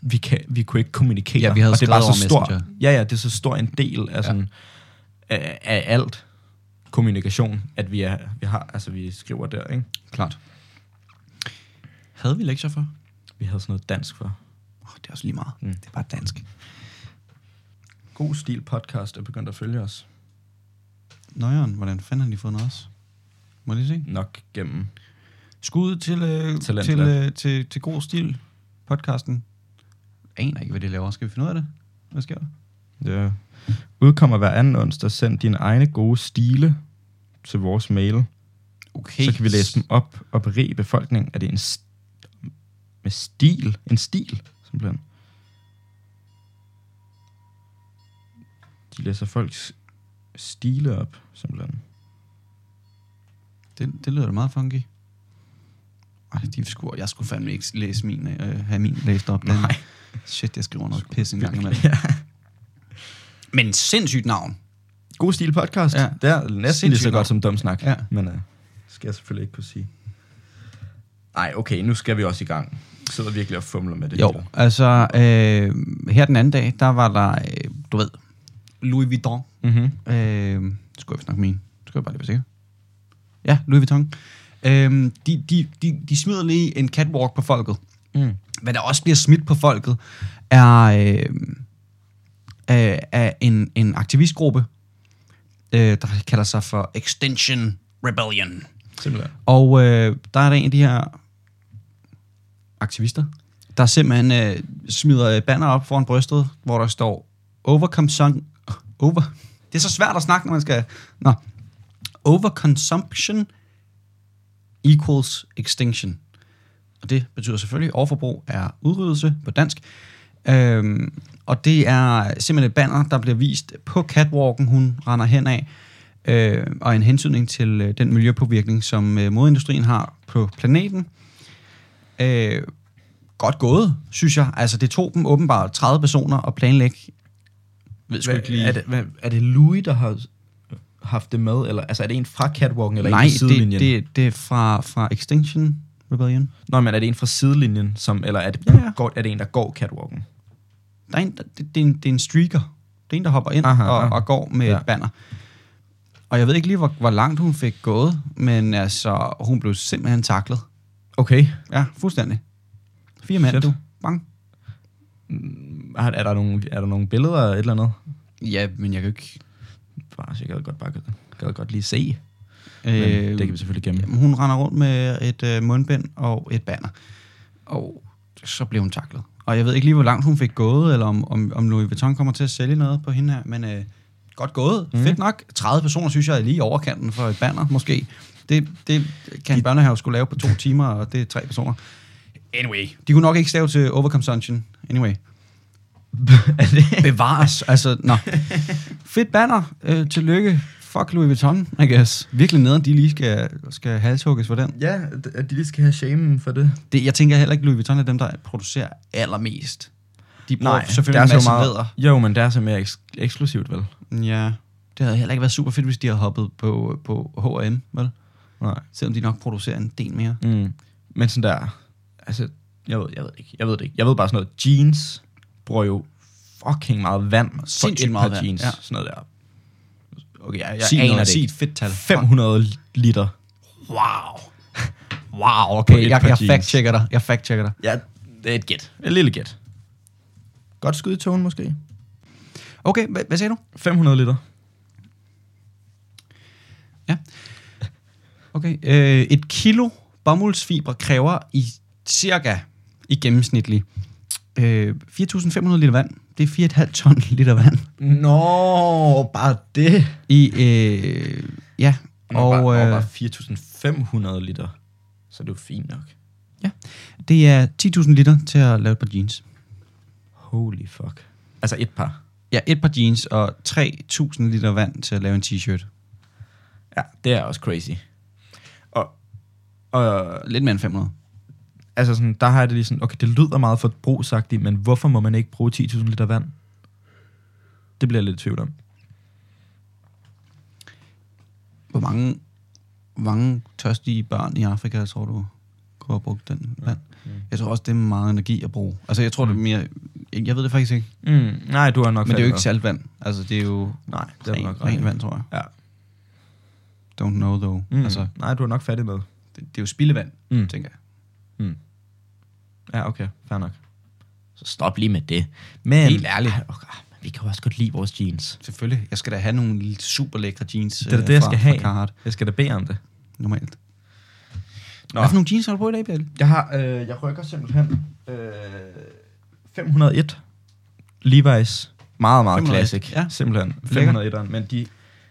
vi, kan, vi kunne ikke kommunikere.
Ja, vi havde
og det var
skrevet
så
over
stor,
Messenger.
Ja, ja, det er så stor en del af, sådan, ja. af, af alt kommunikation, at vi, er, vi har, altså vi skriver der, ikke?
Klart. Havde vi lektier for?
Vi havde sådan noget dansk for.
Oh, det er også lige meget.
Mm.
Det er bare dansk.
God stil podcast er begyndt at følge os.
Nøjeren, hvordan fanden har de fundet os? Må jeg lige se?
Nok gennem.
Skud til, øh,
Talentlab.
til, øh, til, til god stil podcasten. Jeg aner ikke, hvad det laver. Skal vi finde ud af det? Hvad sker der?
Ja. Udkommer hver anden onsdag. Send dine egne gode stile til vores mail.
Okay.
Så kan vi læse dem op og berige befolkningen. Er det en st- med stil? En stil, simpelthen. De læser folks stile op, simpelthen.
Det, det lyder da meget funky. Ej, de skulle, jeg skulle fandme ikke læse min, øh, have min læst op. Den.
Nej.
Shit, jeg skriver noget pis en gang imellem.
Ja.
Men sindssygt navn.
God stil podcast.
Ja.
Ja. Det er næsten lige
Sindssygt
så
godt.
godt som dumsnak.
Ja.
Men uh, skal jeg selvfølgelig ikke kunne sige. Nej, okay, nu skal vi også i gang. Jeg sidder virkelig og fumler med det
Jo,
her.
altså øh, her den anden dag, der var der, øh, du ved, Louis Vuitton.
Mm-hmm.
Øh, skulle jeg snakke min? Skulle jeg bare lige være sikker? Ja, Louis Vuitton. Øh, de, de, de, de smider lige en catwalk på folket.
Mm.
hvad der også bliver smidt på folket, er, øh, øh, er en, en aktivistgruppe, øh, der kalder sig for Extinction Rebellion.
Simpelthen.
Og øh, der er der en af de her aktivister, der simpelthen øh, smider øh, banner op foran brystet, hvor der står overconsumption. Over. Det er så svært at snakke, når man skal... Nå. Overconsumption equals extinction. Og det betyder selvfølgelig, at overforbrug er udryddelse på dansk. Øhm, og det er simpelthen et banner, der bliver vist på catwalken, hun render hen af, øh, og en hensynning til øh, den miljøpåvirkning, som øh, modindustrien har på planeten. Øh, godt gået, synes jeg. Altså, det tog dem åbenbart 30 personer at planlægge. Ved sgu ikke lige.
Er, det, hvad, er det Louis, der har haft det med? Eller, altså, er det en fra catwalken, eller
Nej,
en fra sidelinjen?
det, det, det er fra, fra Extinction Rebellion.
Nå, men er det en fra sidelinjen, som, eller er det,
Ja, ja.
Går, er det en, der går catwalken?
Der er en, der, det, det, er en, det er en streaker. Det er en, der hopper ind
Aha,
aha, og,
aha.
og går med ja.
Ja.
et banner. Og jeg ved ikke lige, hvor, hvor langt hun fik gået, men altså, hun blev simpelthen taklet.
Okay.
Ja, fuldstændig. Fire mænd,
Shit.
du. Bang.
Er, er, der nogle, er der nogle billeder eller et eller andet?
Ja, men jeg kan jo ikke...
Bare, jeg gad godt, bare, gad godt lige se. Men
Øh,
det kan vi selvfølgelig gemme.
jamen, hun render rundt med et øh, mundbind og et banner. Og så blev hun taklet. Og jeg ved ikke lige, hvor langt hun fik gået, eller om, om, om Louis Vuitton kommer til at sælge noget på hende her, men øh, godt gået. Mm. Fedt nok. 30 personer, synes jeg, er lige i overkanten for et banner, måske. Det, det kan en børnehave skulle lave på to timer, og det er tre personer. Anyway. De kunne nok ikke stave til overconsumption. Anyway.
er det?
Bevares. altså, nå. Fedt banner. Øh, tillykke. Fuck Louis Vuitton, I guess. Virkelig nederen, de lige skal, skal halshugges for den.
Ja, at de lige skal have shamen for det.
Det, jeg tænker heller ikke, Louis Vuitton er dem, der producerer allermest. De bruger
Nej,
Nej, selvfølgelig en masse meget... læder.
Jo, men det er så mere eks- eksklusivt, vel?
Ja. Det havde heller ikke været super fedt, hvis de havde hoppet på, på H&M, vel?
Nej.
Selvom de nok producerer en del mere.
Mm. Men sådan der, altså, jeg ved, jeg ved ikke, jeg ved det ikke. Jeg ved bare sådan noget, jeans bruger jo fucking meget vand. for
Sindssygt
et
meget
par
vand,
jeans,
ja.
sådan noget der. Okay, jeg, jeg
Sig
aner
noget,
det
sig
ikke.
et fedt tal.
500 liter.
Wow. Wow, okay.
På et
Jeg,
par
jeg
jeans.
fact-checker dig. Jeg fact-checker dig.
Ja, det er et gæt. Et lille gæt. Godt skud i togen, måske.
Okay, hvad, hvad sagde du?
500 liter.
Okay. Øh, et kilo bomuldsfiber kræver i cirka i gennemsnitlig øh, 4.500 liter vand. Det er 4,5 ton liter vand.
Nå, bare det.
I, øh, ja,
Og,
og
bare, og bare
øh,
4.500 liter. Så er det jo fint nok.
det er 10.000 liter til at lave et par jeans.
Holy fuck. Altså et par.
Ja, et par jeans og 3.000 liter vand til at lave en t-shirt.
Ja, det er også crazy. Og, og
Lidt mere end 500.
altså sådan, der har jeg det lige sådan, okay, det lyder meget forbrugsagtigt, men hvorfor må man ikke bruge 10.000 liter vand? Det bliver jeg lidt i tvivl om.
Hvor mange, hvor mange tørstige børn i Afrika, tror du, kunne have brugt den vand? Jeg tror også, det er meget energi at bruge. Altså, jeg tror, det er mere... Jeg ved det faktisk ikke,
Mm, nej, du har nok
men det er jo ikke
fat i
saltvand. Altså, det er jo
noget. Nej, det er du nok
ren,
ret i.
ren vand, tror jeg.
Ja.
Don't know, though.
Mm,
Altså,
altså. Nej, du har nok fat i noget.
det, det er jo spildevand,
Mm.
tænker jeg.
Ja, okay, fair nok. Så stop lige med det. Men,
Helt ærligt.
Ej, okay, men vi kan jo også godt lide vores jeans.
Selvfølgelig. Jeg skal da have nogle super lækre jeans
Det er
øh,
det, jeg
fra,
skal
fra
have.
Carhartt.
Jeg skal da bede om det.
normalt.
Nå.
Nå. Hvad for nogle jeans har du på i dag, Pelle?
Jeg, har, øh, jeg rykker simpelthen øh, 501 Levi's. Meget, meget
501,
classic.
ja.
Simpelthen.
Lækker.
501'eren. Men de,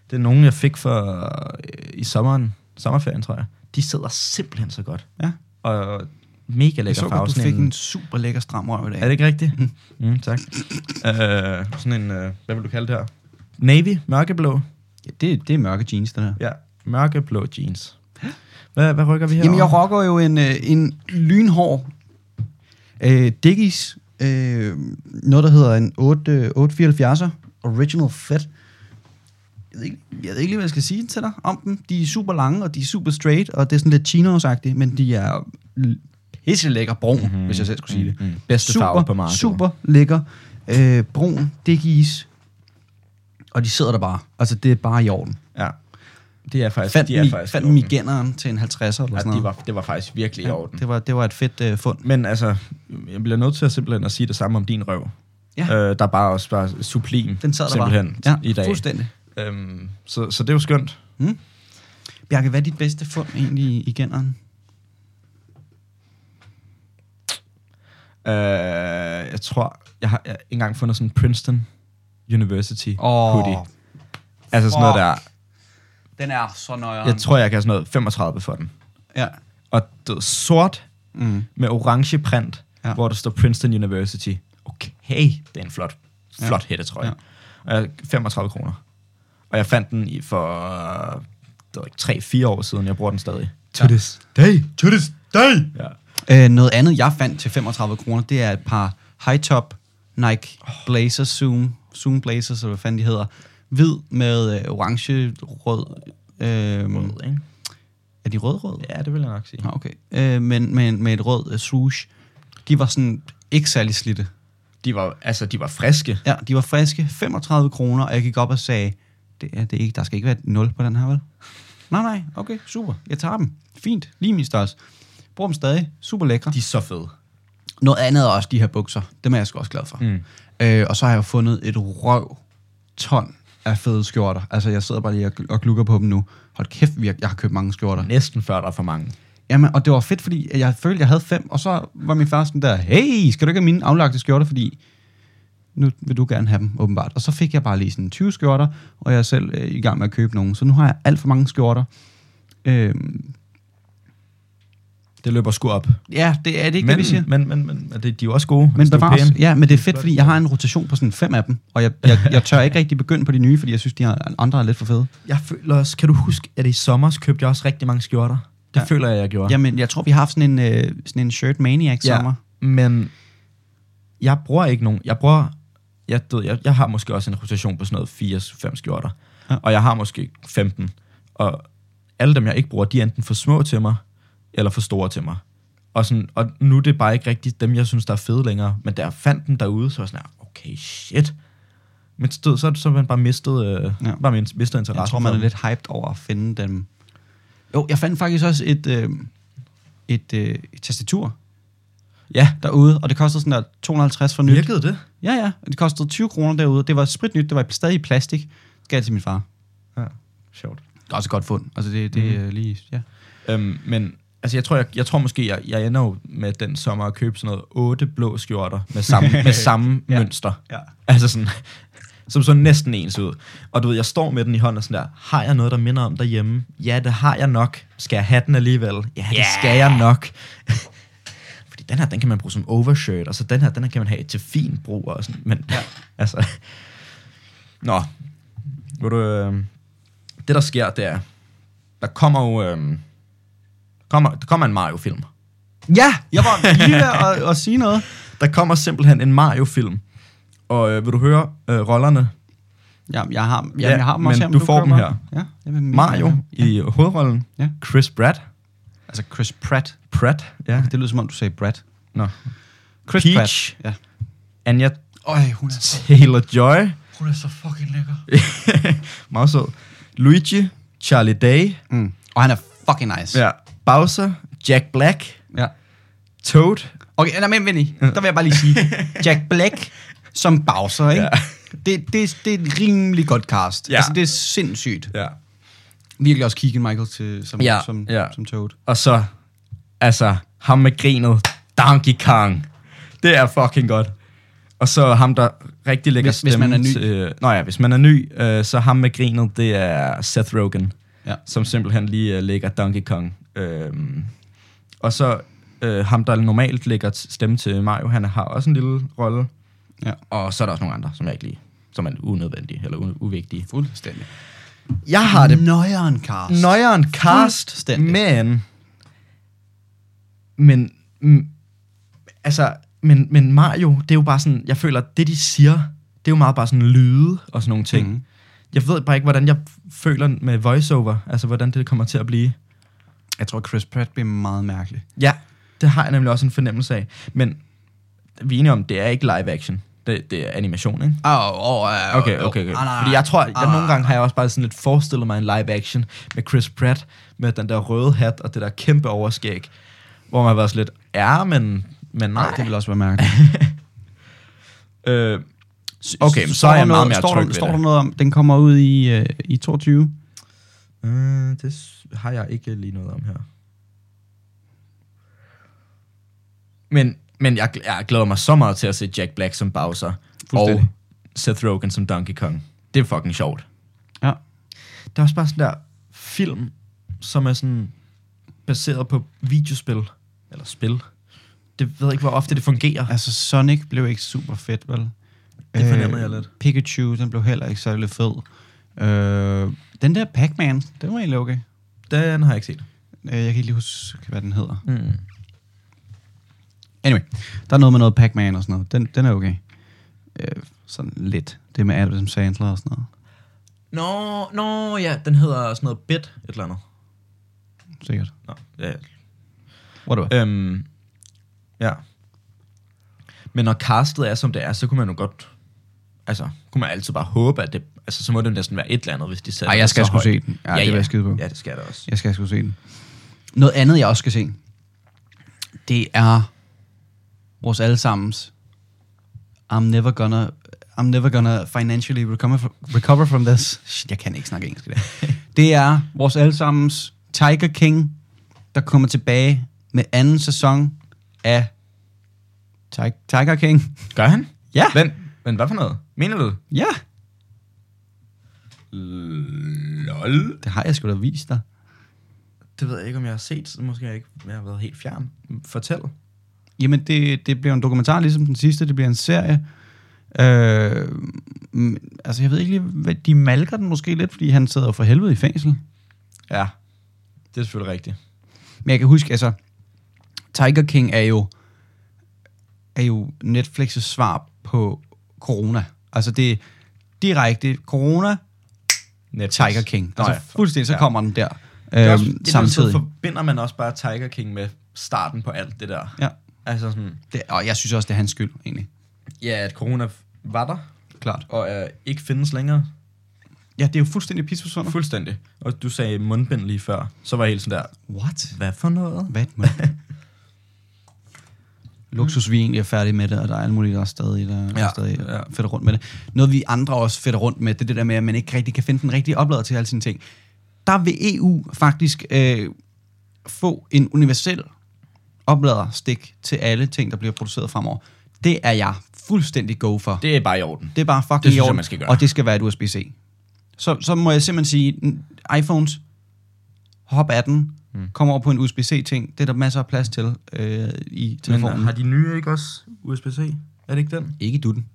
det er nogen, jeg fik for, øh, i sommeren, sommerferien, tror jeg. De sidder simpelthen så godt.
Ja.
Og mega
Jeg
lækker
så
farve.
godt, du
Sådan
fik en super lækker stram røv i dag.
Er det ikke rigtigt? Mm, tak. øh, sådan en, øh, hvad vil du kalde det her? Navy, mørkeblå.
Ja, det, det er mørke jeans, det der.
Ja, mørkeblå jeans. Hvad, hvad rykker vi her?
Jamen, jeg rocker jo en, øh, en lynhård øh, Dickies, øh, noget der hedder en 8, øh, 874'er, Original Fed. Jeg ved, ikke, jeg ved ikke lige, hvad jeg skal sige til dig om dem. De er super lange, og de er super straight, og det er sådan lidt chinos men de er pisse lækker brun, mm-hmm. hvis jeg selv skulle sige det.
Mm-hmm. Mhm. Bedste
super,
farve på markedet.
Super lækker, øh, brun, dickies, og de sidder der bare. Altså, det er bare i orden.
Ja. Det er faktisk...
Fandt,
Altså, de er
mi,
faktisk
fandt
i orden.
migeneren til en 50'er eller sådan
ja,
noget.
de var, det var faktisk virkelig i orden.
Det var, det var et fedt øh, fund.
Men altså, jeg bliver nødt til at simpelthen at sige det samme om din røv.
Ja.
Øh, der er bare også bare sublim
Den sad der
simpelthen
bare.
i dag.
fuldstændig.
Øhm, så, så det er jo skønt.
Bjarke, hvad er dit bedste fund egentlig i- i generen?
Øh, jeg tror, jeg har jeg har engang fundet sådan en Princeton University oh, hoodie. Altså sådan noget der.
Den er så nøjeren.
Jeg tror, jeg kan have sådan noget 35 for den.
Ja.
Og det er sort
Mm.
med orange print, ja.
Ja.
hvor der står Princeton University. Okay, det er en flot, flot ja. hættetrøje. Ja. Og jeg- 35 kroner. Og jeg fandt den i for øh, det var ikke 3-4 år siden, jeg bruger den stadig.
To this
Day, to this day! Ja.
Øh, noget andet, jeg fandt til 35 kroner, det er et par high-top Nike Blazer Zoom, Zoom Blazers, eller hvad fanden de hedder. Hvid med øh, orange, rød. Øh,
Rød, ikke?
er de rød-rød?
Ja, det vil jeg nok sige.
Nå, okay. Øh, men, men med et rød øh, swoosh. De var sådan ikke særlig slidte.
De var, altså, de var friske.
Ja, de var friske. 35 kroner, og jeg gik op og sagde, det er det ikke. Der skal ikke være et 0 på den her, vel? Nej, nej, okay, super. Jeg tager dem. Fint. Lige min størrelse. Bruger dem stadig. Super lækre.
De er så fede.
Noget andet er også de her bukser. Dem er jeg sgu også glad for. Mm. Øh, og så har jeg fundet et røv ton af fede skjorter. Altså, jeg sidder bare lige og, gl- og glukker på dem nu. Hold kæft, vi har- jeg har købt mange skjorter.
Næsten før der er for mange.
Jamen, og det var fedt, fordi jeg følte, jeg havde fem, og så var min far sådan der, hey, skal du ikke have mine aflagte skjorter, fordi nu vil du gerne have dem, åbenbart. Og så fik jeg bare lige sådan 20 skjorter, og jeg er selv øh, i gang med at købe nogen, så nu har jeg alt for mange skjorter. Øhm,
Det løber sgu op.
ja, det er det ikke,
men,
det, vi siger.
men, men, men, men det, de er jo også gode. Altså,
Men
de er
der var
pæne.
også, ja, men det er fedt, fordi jeg har en rotation på sådan fem af dem, og jeg, jeg, jeg tør ikke rigtig begynde på de nye, fordi jeg synes, de har- andre er lidt for fede.
Jeg føler også, kan du huske, at i sommer købte jeg også rigtig mange skjorter? Det
Ja.
ja. føler jeg, jeg gjorde.
Jamen, jeg tror, vi har haft sådan en, øh, sådan en shirt maniac sommer.
men jeg bruger ikke nogen. Jeg bruger, jeg, du ved, jeg, jeg har måske også en rotation på sådan noget 4-5 skjorter.
Ja.
Ja. Og jeg har måske 15. Og alle dem, jeg ikke bruger, de er enten for små til mig, eller for store til mig. Og, sådan, og nu er det bare ikke rigtigt dem, jeg synes, der er fede længere. Men da jeg fandt den derude, så var jeg sådan, her, okay, shit. Men stød, så, så har man bare mistet, øh,
Ja.
ja. bare min- mistet interessen.
Jeg tror,
for
man er
dem.
lidt hyped over at finde dem. Jo, jeg fandt faktisk også et, øh, et, øh, et tastatur
Ja,
derude, og det kostede sådan der 250 for nyt.
virkede det?
Ja, ja. og Det kostede 20 kroner derude. Det var spritnyt, det var stadig i plastik. Gav jeg til min far.
Ja, sjovt.
Det er også et godt fund. Altså, det, det mm. lige... Ja.
Øhm, men altså, jeg tror, jeg, jeg tror måske, jeg, jeg ender jo med den sommer at købe sådan noget otte blå skjorter med samme, med samme
Ja.
ja. mønster.
Ja.
Altså sådan, som så næsten ens ud. Og du ved, jeg står med den i hånden og sådan der, har jeg noget, der minder om derhjemme? Ja, det har jeg nok. Skal jeg have den alligevel? Ja, det
Ja.
yeah. skal jeg nok. Fordi den her, den kan man bruge som overshirt, og så den her, den her kan man have til fin brug og sådan. Men ja. altså, nå, hvor du, øh, det der sker, det er, der kommer jo, øh, kommer, der kommer en Mario-film.
ja, jeg var lige ved at, at sige noget.
Der kommer simpelthen en Mario-film. Og øh, vil du høre øh, rollerne?
Ja, jeg har, ja,
Ja,
jeg har dem også
men
her,
du
køber
får dem
mig.
her.
Ja, jeg vil
Mario i øh, hovedrollen.
Ja.
Chris Pratt.
Altså Chris Pratt.
Pratt.
Ja. Det lyder som om, du sagde Brad.
Nå.
Chris
Peach.
Pratt. Ja.
Anja
Øj, hun er,
Taylor-Joy.
hun er så fucking lækker.
Meget sød. Luigi. Charlie Day.
Mm. Og han er fucking nice.
Ja. Bowser. Jack Black.
ja.
Toad.
Okay, nej, men vent lige. Der vil jeg bare lige sige, Jack Black som Bowser, ikke? Ja.
Ja.
Det, det, det er et rimelig godt cast. Ja.
Ja.
Altså, det er sindssygt.
Ja.
Virkelig også Keegan Michael til, som, ja.
Ja,
som, ja.
ja.
som Toad.
Og så, altså, ham med grinet. Donkey Kong. Det er fucking godt. Og så ham, der rigtig lægger
Hvis- hvis man er ny.
Til, øh, nå ja, hvis man er ny, øh, så ham med grinet, det er Seth Rogen.
Ja.
som simpelthen lige uh, lægger Donkey Kong. Øhm, og så øh, ham, der normalt lægger t- stemme til Mario, han har også en lille rolle.
Ja.
Og så er der også nogle andre, som jeg ikke lige, som er unødvendige eller u- uvigtige.
Fuldstændig.
Jeg
Har
har
det
det
nøjeren cast.
nøjeren cast,
Fuldstændig.
men... Men... mm, altså, men, men Mario, det er jo bare sådan... Jeg føler, det de siger, det er jo meget bare sådan lyde og sådan nogle ting.
Mhm.
Mm. Jeg ved bare ikke, hvordan jeg føler med voiceover, altså hvordan det kommer til at blive.
Jeg tror, Chris Pratt bliver meget mærkelig.
Ja, det har jeg nemlig også en fornemmelse af. Men vi er enige om, det er ikke live action. Det, det er animation, ikke?
Åh, oh, oh, uh,
Okay, okay, okay. Fordi jeg tror, jeg nogle gange har jeg også bare sådan lidt forestillet mig en live action med Chris Pratt, med den der røde hat og det der kæmpe overskæg, hvor man har været sådan lidt, ja, men, men nej.
Nej, det vil også være mærkeligt.
Øh, okay, men så
Står
er
der
jeg meget
noget-
mere
står
tryg
der,
ved
står der
det.
noget om, den kommer ud i, øh, i 22?
Øh, det s- har jeg ikke lige noget om her. Men, men jeg, gl- jeg glæder mig så meget til at se Jack Black som Bowser. Og
Fuldstændig.
Seth Rogen som Donkey Kong. Det er fucking sjovt.
Ja.
Der er også bare sådan der film, som er sådan baseret på videospil. Eller spil. Det ved jeg ikke, hvor ofte det fungerer.
Altså, Sonic blev ikke super fedt, vel? Øh,
Det fornemmer jeg lidt.
Pikachu, den blev heller ikke særlig fed. Øh, den der Pac-Man, den var egentlig okay.
Den har jeg ikke set.
Øh, jeg kan ikke lige huske, hvad den hedder.
Mm.
Anyway, der er noget med noget Pac-Man og sådan noget. Den, den er okay. Øh, sådan lidt. Det med Adam Sandler og sådan noget.
Nå, nå, ja, den hedder sådan noget Bit, et eller andet.
Sikkert.
Nå, ja,
Whatever.
Øhm, ja. Men når castet er, som det er, så kunne man jo godt altså, kunne man altid bare håbe, at det, altså, så må det jo næsten være et eller andet, hvis de sætter
Ej, jeg
det
skal
så
sgu
højt.
se den. Ja, det vil jeg skide på.
Ja, det skal jeg da også.
Jeg skal sgu se den. Noget andet, jeg også skal se, det er vores allesammens I'm never gonna I'm never gonna financially recover, recover from this. Shit, jeg kan ikke snakke engelsk i dag. Det er vores allesammens Tiger King, der kommer tilbage med anden sæson af Ti- Tiger King.
Gør han?
Ja.
Men, men hvad for noget? Mener du? det?
Ja,
Lol.
det har jeg sgu da vist dig.
Det ved jeg ikke, om jeg har set. så Måske har jeg ikke jeg har været helt fjern. Fortæl.
Jamen, det, det bliver en dokumentar, ligesom den sidste. Det bliver en serie. Øh, mm, altså, jeg ved ikke lige, hvad, de malker den måske lidt, fordi han sidder jo for helvede i fængsel.
Ja, det er selvfølgelig rigtigt.
Men jeg kan huske, altså, Tiger King er jo, er jo Netflix' svar på corona. Altså, det er direkte corona,
Netflix.
Tiger King.
Nå
Altså,
ja.
fuldstændig, så
Ja.
kommer den der
Det er også,
øh,
det, samtidig.
samtidig.
Så forbinder man også bare Tiger King med starten på alt det der.
Ja,
Altså sådan,
det, og jeg synes også, det er hans skyld, egentlig.
ja, at corona var der,
Klart.
og øh, ikke findes længere.
Ja, det er jo fuldstændig pisforsundet.
Fuldstændig. Og du sagde mundbind lige før, så var jeg helt sådan der,
What?
hvad for noget?
Hvad må Luksus, vi egentlig er færdige med det, og der er alle mulige, der er stadig, der ja,
Ja,
stadig ja.
ja.
fedter rundt med det. Noget, vi andre også fedter rundt med, det er det der med, at man ikke rigtig kan finde den rigtige oplader til alle sine ting. Der vil EU faktisk øh, få en universel opladerstik til alle ting, der bliver produceret fremover. Det er jeg fuldstændig go for. Det,
Det er bare i orden.
det er bare fucking
det synes
i
jeg,
orden,
man skal gøre.
og det skal være et USB-C. Så, så må jeg simpelthen sige, n- iPhones, hop af den, mm. kom over på en USB-C-ting. Det er der masser af plads til øh, i telefonen.
Men har de nye ikke også USB-C? Er det ikke den?
ikke i dutten.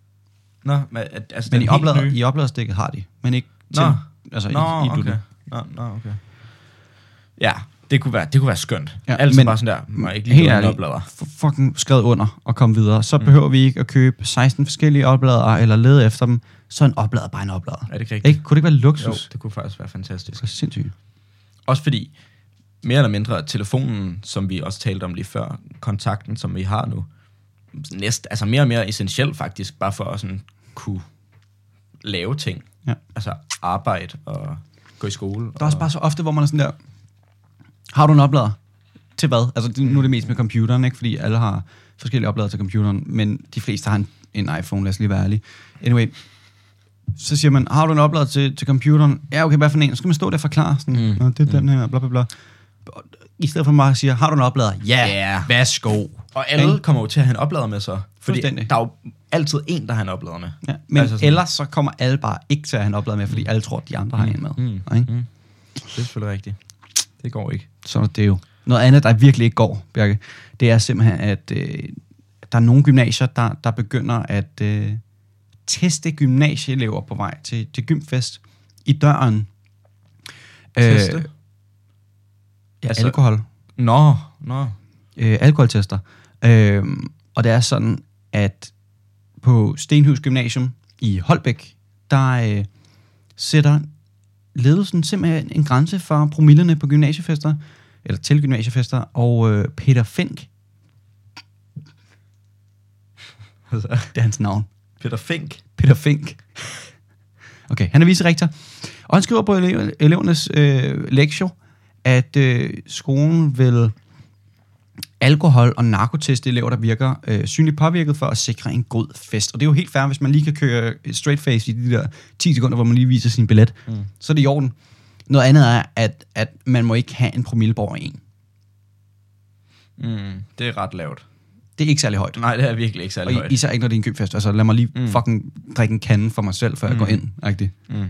Nå, men, at- altså
Men
den
i,
helt
oplader,
nye-
i opladerstikket har de, men ikke til,
Nå.
altså
Nå,
i, i dutten.
okay. Nå, nå, okay. Ja, det kunne være, det kunne være skønt.
Ja,
Ja, altså
men-
bare sådan der, må jeg ikke lige
Helt
gå en
ærligt,
oplader.
f- fucking skrevet under og kom videre. Så mm. behøver vi ikke at købe 16 forskellige oplader eller lede efter dem. Så er en oplader bare en oplader.
Er det ikke rigtigt?
Ikke? Kunne det ikke være
Jo,
luksus? Jo.
det kunne faktisk være fantastisk.
Det er sindssygt.
Også fordi, mere eller mindre, telefonen, som vi også talte om lige før, kontakten, som vi har nu, næst, altså mere og mere essentiel faktisk, bare for at sådan kunne lave ting.
Ja.
Altså arbejde og gå i skole.
Der er også
og,
bare så ofte, hvor man er sådan der, har du en oplader? Til hvad? Altså det, nu er det mest med computeren, ikke? fordi alle har forskellige oplader til computeren, men de fleste har en, en iPhone, lad os lige være ærlige. Anyway, så siger man, har du en oplader til, til computeren? Ja, okay, hvad for en? Så skal man stå der og forklare, sådan, mm. Nå, det er den her, bla bla bla. Og I stedet for at man bare siger, har du en oplader? Ja,
Ja.
yeah. værsgo.
og alle kommer jo til at have en oplader med sig. Fordi
Fuldstændig.
der er jo altid en, der har en oplader med.
Ja, men altså
Altså sådan-
ellers så kommer alle bare ikke til at have en oplader med, fordi alle tror, at de andre har en med. Mm. Ikke? Mm.
Det er selvfølgelig rigtigt. Det går ikke.
Sådan er det jo. Noget andet, der virkelig ikke går, Bjarke, det er simpelthen, at øh, der er nogle gymnasier, der, der begynder at øh, teste gymnasieelever på vej til, til gymfest i døren.
Teste?
Øh, ja,
Altså-
alkohol.
Nå, nå.
Øh, alkoholtester. Øh, og det er sådan, at på Stenhus Gymnasium i Holbæk, der øh, sætter ledelsen simpelthen en grænse for promillerne på gymnasiefester, eller til gymnasiefester, og øh, Peter Fink,
Altså,
det er hans navn,
Peter Fink.
Peter Fink. Okay, han er vicerektor. Og han skriver på elev- elevernes øh, lektion, at øh, skolen vil alkohol- og narkoteste elever, der virker øh, synligt påvirket for at sikre en god fest. Og det er jo helt fair, hvis man lige kan køre et straight face i de der 10 sekunder, hvor man lige viser sin billet. Mm. Så er det i orden. Noget andet er, at, at man må ikke have en promille på over en.
Mm, det er ret lavt.
Det er ikke særlig højt.
Nej, det er virkelig ikke særlig
Og
højt.
især ikke, når det er en købfest. Altså, lad mig lige mm. fucking drikke en kande for mig selv, før jeg går ind. Agtigt.
Mm.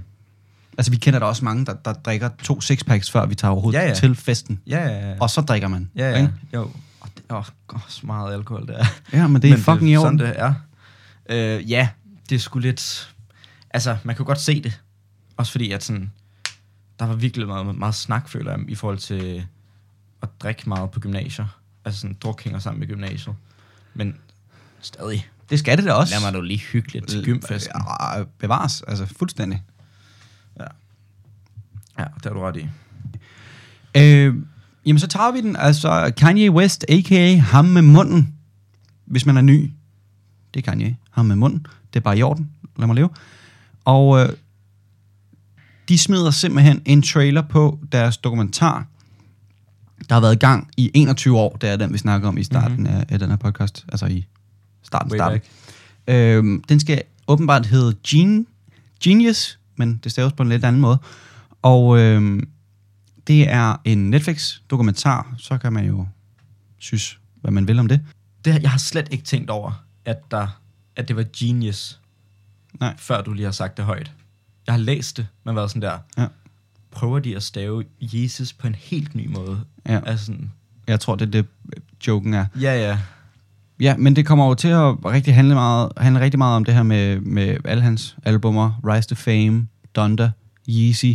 Altså, vi kender da også mange, der, der drikker to sixpacks, før vi tager overhovedet ja,
Ja,
ja.
ja.
til festen.
Ja, ja, ja.
Og så drikker man.
Ja, ja.
ikke?
Jo. Og det, åh, åh, så meget alkohol, det er.
ja men det er men fucking det, i orden.
Sådan det er. Øh, ja, det er sgu lidt... Altså, man kan jo godt se det. Også fordi, at sådan... Der var virkelig meget, meget snak, føler jeg, i forhold til at drikke meget på gymnasier. Altså sådan, druk hænger sammen med gymnasiet. Men stadig.
det skal det da også.
Lad mig nu lige hygge lidt til gymfesten.
Ja, bevares, altså fuldstændig.
Ja, det har du ret i.
Øh, jamen, så tager vi den. Altså, Kanye West, a.k.a. ham med munden. Hvis man er ny. Det er Kanye. Ham med munden. Det er bare i orden. Lad mig leve. Og øh, de smider simpelthen en trailer på deres dokumentar, der har været i gang i 21 år. Det er den, vi snakker om i starten mm-hmm. af, af den her podcast. Altså i starten.
Way
starten. Øhm, den skal åbenbart hedde Gen- Genius, men det staves på en lidt anden måde. Og øhm, det er en Netflix-dokumentar, så kan man jo synes, hvad man vil om det.
det, jeg har slet ikke tænkt over, at, der, at det var genius,
Nej.
før du lige har sagt det højt. Jeg har læst det, men været sådan der,
Ja.
prøver de at stave Jesus på en helt ny måde?
Ja.
Altså sådan,
Jeg tror, det er det, øh, joken er.
ja, ja.
Ja, men det kommer jo til at rigtig handle, meget, handle rigtig meget om det her med, med alle hans albummer. Rise to Fame, Donda, Yeezy,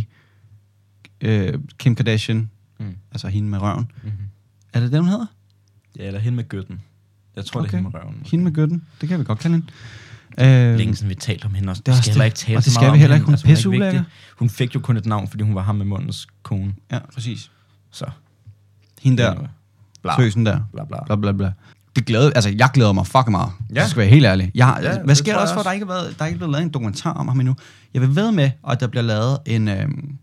øh, Kim Kardashian,
Mm.
mm. altså hende med røven.
Mm-hmm.
Er det det, hun hedder?
Ja, eller hende med gøtten. Jeg tror, okay. det er hende med røven.
Hende med gøtten. Det kan vi godt kalde hende. Øh,
Længe siden vi talte om hende også.
Det er
Det
også
skal
det.
heller ikke tale
Og
så
det skal
meget
vi
om
heller ikke.
hende. Altså,
Hun er
hun, er ikke
pisseulækker.
vigtig. hun fik jo kun et navn, fordi hun var ham med mundens kone.
Ja, præcis.
Så.
Hende der.
anyway.
Bla. Søsen der.
Bla, bla.
Bla, bla, bla. Det glæder, altså, jeg glæder mig fucking meget.
Ja.
Ja. Det skal jeg være helt ærlig. Jeg, har,
Ja,
ja, hvad
det
sker
tror
der
jeg
også for, at
også.
der ikke er blevet- der er ikke blevet lavet en dokumentar om ham endnu? Jeg vil ved med, at der bliver lavet en, øhm,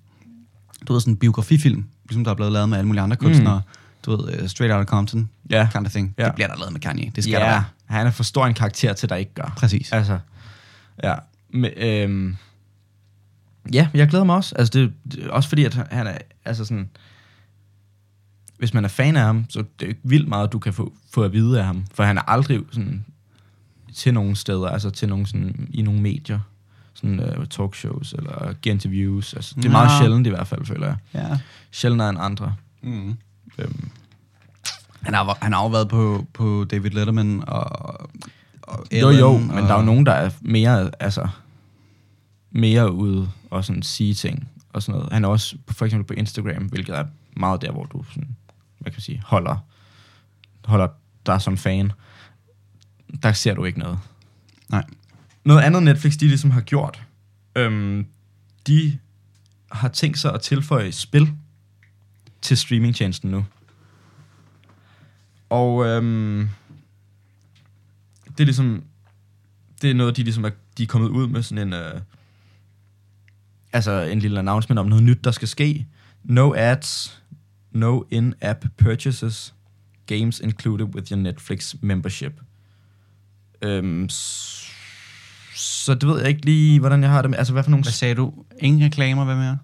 du ved, sådan en biografifilm, ligesom der er blevet lavet med alle mulige andre kunstnere. Mm. Du ved, uh, Straight Outta Compton,
Ja.
kind of thing.
Ja.
Ja. Det bliver der lavet med Kanye. Det skal
ja,
ja. der være.
han er for stor en karakter til, der ikke gør.
Præcis.
Altså, ja. Men, øhm, ja, jeg glæder mig også. Altså, det, det, også fordi, at han er, altså sådan, hvis man er fan af ham, så det er jo ikke vildt meget, du kan få, få at vide af ham. For han er aldrig sådan, til nogle steder, altså til nogle, sådan, i nogle medier. Sådan uh, talkshows eller interviews. Altså, det er meget
Nå.
sjældent i hvert fald, føler jeg.
Ja.
Sjældnere end andre.
Mm.
Øhm,
Han, har, han har jo været på, på David Letterman og, og
Jo, jo,
Ellen
men
og,
der er jo nogen, der er mere, altså, mere ude og sådan sige ting og sådan noget. Han er også på- for eksempel på Instagram, hvilket er meget der, hvor du sådan, hvad kan man sige, holder, holder dig som fan. Der ser du ikke noget.
Nej.
Noget andet Netflix, de ligesom har gjort, øhm, de har tænkt sig at tilføje spil til streamingtjenesten nu. Og øhm, det er ligesom, det er noget, de ligesom er, de er kommet ud med sådan en, øh, altså en lille announcement om noget nyt, der skal ske. No ads, no in-app purchases, games included with your Netflix membership. Øhm, s- så det ved jeg ikke lige, hvordan jeg har det med, altså hvad for nogle
Hvad sagde du? Ingen reklamer, hvad mere?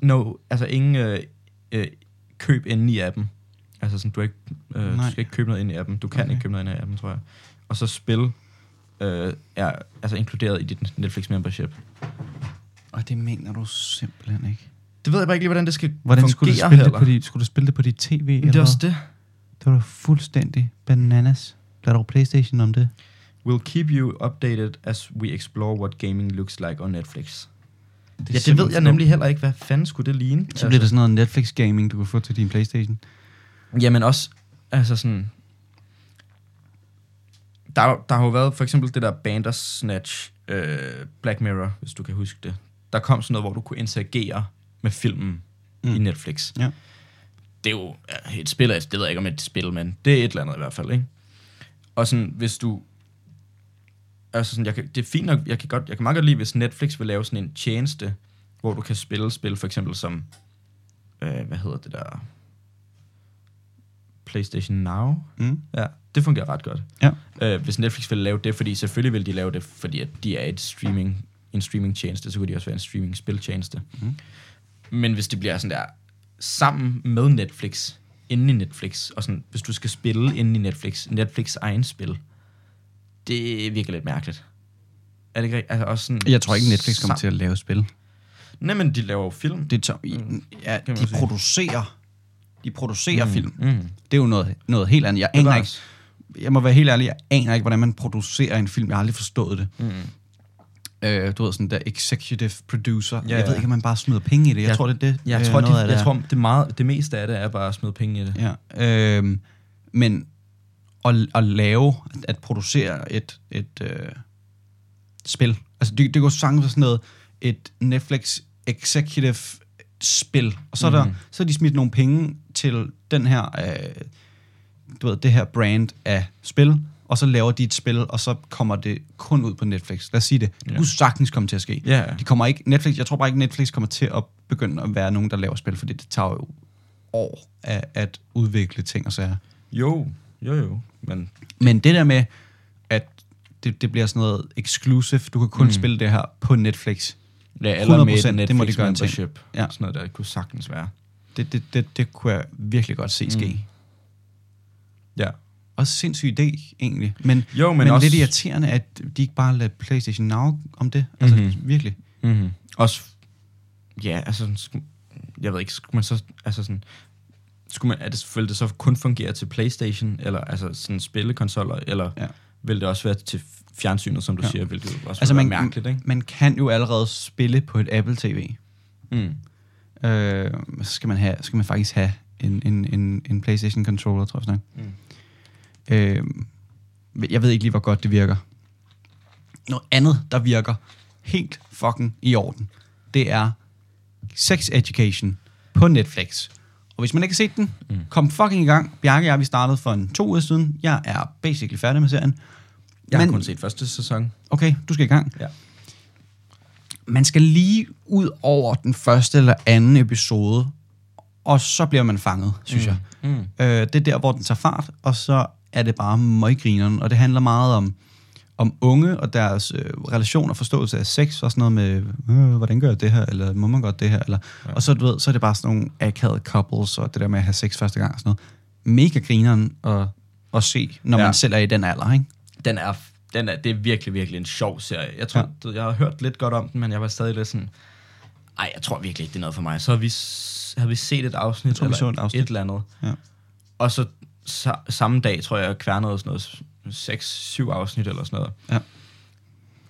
no, altså ingen øh, øh, køb inde i appen. Altså sådan, du, er ikke, øh, du
Nej.
skal ikke købe noget ind i appen. Du kan okay.
Okay.
ikke købe noget ind i appen, tror jeg. Og så spil øh, er altså inkluderet i dit Netflix membership.
Og det mener du simpelthen ikke.
Det ved jeg bare ikke lige, hvordan det skal
Hvordan
fungere
skulle du, spille det
heller.
på dit, skulle du spille det på dit tv?
Men det er også det.
Det var da fuldstændig bananas. Der er dog Playstation om det.
We'll keep you updated as we explore what gaming looks like on Netflix. Det ja, det ved
simpelthen
jeg
sådan-
nemlig heller ikke. Hvad fanden skulle det ligne?
Så bliver det sådan noget Netflix-gaming, du kan få til din Playstation.
Jamen også, altså sådan... Der, der har jo været for eksempel det der Bandersnatch øh, Black Mirror, hvis du kan huske det. Der kom sådan noget, hvor du kunne interagere med filmen mm.
Mm.
i Netflix.
Ja.
Det er jo ja, et spil, er- det ved jeg ikke om et spil, men det er et eller andet i hvert fald, ikke? Og sådan, hvis du... Altså sådan, jeg kan, det er fint nok, jeg kan, godt, jeg kan meget godt lide, hvis Netflix vil lave sådan en tjeneste, hvor du kan spille spil, for eksempel som, øh, hvad hedder det der, PlayStation Now.
Mm.
Ja, det fungerer ret godt.
Ja.
Øh, hvis Netflix vil lave det, fordi selvfølgelig vil de lave det, fordi at de er et streaming, en streamingtjeneste, så kunne de også være en streaming-spiltjeneste.
Mhm.
Men hvis det bliver sådan der, sammen med Netflix, inde i Netflix, og sådan, hvis du skal spille inde i Netflix, Netflix egen spil, det virker lidt mærkeligt. Er det ikke rigtigt? Altså også sådan,
Jeg tror ikke, Netflix kommer
sam-
til at lave spil.
Nej, men de laver jo film.
Det er tom, ja,
Kan Mm. man
de
sige.
producerer, de producerer mm. film.
Mm.
Det er jo noget, noget helt andet. Jeg aner ikke,
Bevares.
jeg må være helt ærlig, jeg aner ikke, hvordan man producerer en film. Jeg har aldrig forstået det.
Mm.
Øh, du ved, sådan der executive producer.
Ja,
Ja, jeg ved
ja.
ikke, om man bare smider penge i det. Jeg
Ja.
tror, det er det.
Jeg
øh,
tror,
noget af
det,
det
jeg
er.
tror det, meget, det meste af det er bare at smide penge i det.
Ja, øhm, men at, at lave, at- at producere et, et øh, spil, altså det, det går sagtens være sådan noget, et Netflix executive spil, og så, er der,
Mhm.
så har de smidt nogle penge til den her, øh, du ved, det her brand af spil, og så laver de et spil, og så kommer det kun ud på Netflix. Lad os sige det. Det
Ja.
kunne sagtens komme til at ske.
Ja, ja.
De kommer ikke, Netflix, jeg tror bare ikke, Netflix kommer til at begynde at være nogen, der laver spil, fordi det tager jo år at, at udvikle ting og sager.
Jo, jo, jo. Men
Men det der med, at det, det bliver sådan noget exclusive, du kan kun mm. spille det her på Netflix,
ja, eller med
100%,
et
det må de
Netflix
gøre en ting.
membership.
Ja.
Ja. Sådan noget der kunne sagtens være.
det, det, det, det kunne jeg virkelig godt se ske. Mm.
Ja.
Også sindssyg idé, egentlig. Men,
Jo, men
men
også-
lidt irriterende, at de ikke bare lader PlayStation Now om det. Altså, mm-hmm. virkelig.
Mm-hmm. Også, ja, altså, sku- jeg ved ikke, skulle man så, altså sådan, skulle man, er det, vil det så kun fungere til Playstation, eller altså sådan spillekonsoller, eller
Ja.
ja. vil det også være til fjernsynet, som du
Ja.
ja. siger, hvilket også
Altså,
altså,
man,
man, være mærkeligt, ikke?
man kan jo allerede spille på et Apple TV.
Mm.
Øh, så skal man, have, skal man faktisk have en, en, en, en PlayStation controller, tror jeg snart. Mm.
Mm.
Øh, jeg ved ikke lige, hvor godt det virker. Noget andet, der virker helt fucking i orden, det er Sex Education på Netflix. Og hvis man ikke har set den, mm. kom fucking i gang. Bjarke og jeg, vi startede for en to uger siden. Jeg er basically færdig med serien.
Jeg Men,
Men-
har kun set første sæson.
Okay, du skal i gang.
Ja.
man skal lige ud over den første eller anden episode, og så bliver man fanget, synes mm. jeg. Mm. Øh, det er der, hvor den tager fart, og så er det bare møggrineren, og det handler meget om, om unge og deres øh, relation og forståelse af sex, og sådan noget med, øh, hvordan gør jeg det her, eller må man godt det her, eller, ja. og så, du ved, så er det bare sådan nogle akavede couples, og det der med at have sex første gang og sådan noget. Mega grineren at, at se, når ja.
Ja.
man selv er i den alder, ikke?
Den er, den er, det er virkelig, virkelig en sjov serie. Jeg tror,
Ja.
ja. du, ved, jeg har hørt lidt godt om den, men jeg var stadig lidt sådan, ej, jeg tror virkelig ikke, det er noget for mig. Så har vi, s- har vi set et afsnit,
tror, vi
eller
så et afsnit.
et eller andet.
Ja.
Og så sa- samme dag, tror jeg, jeg kværnede sådan noget 6-7 afsnit eller sådan noget.
Ja.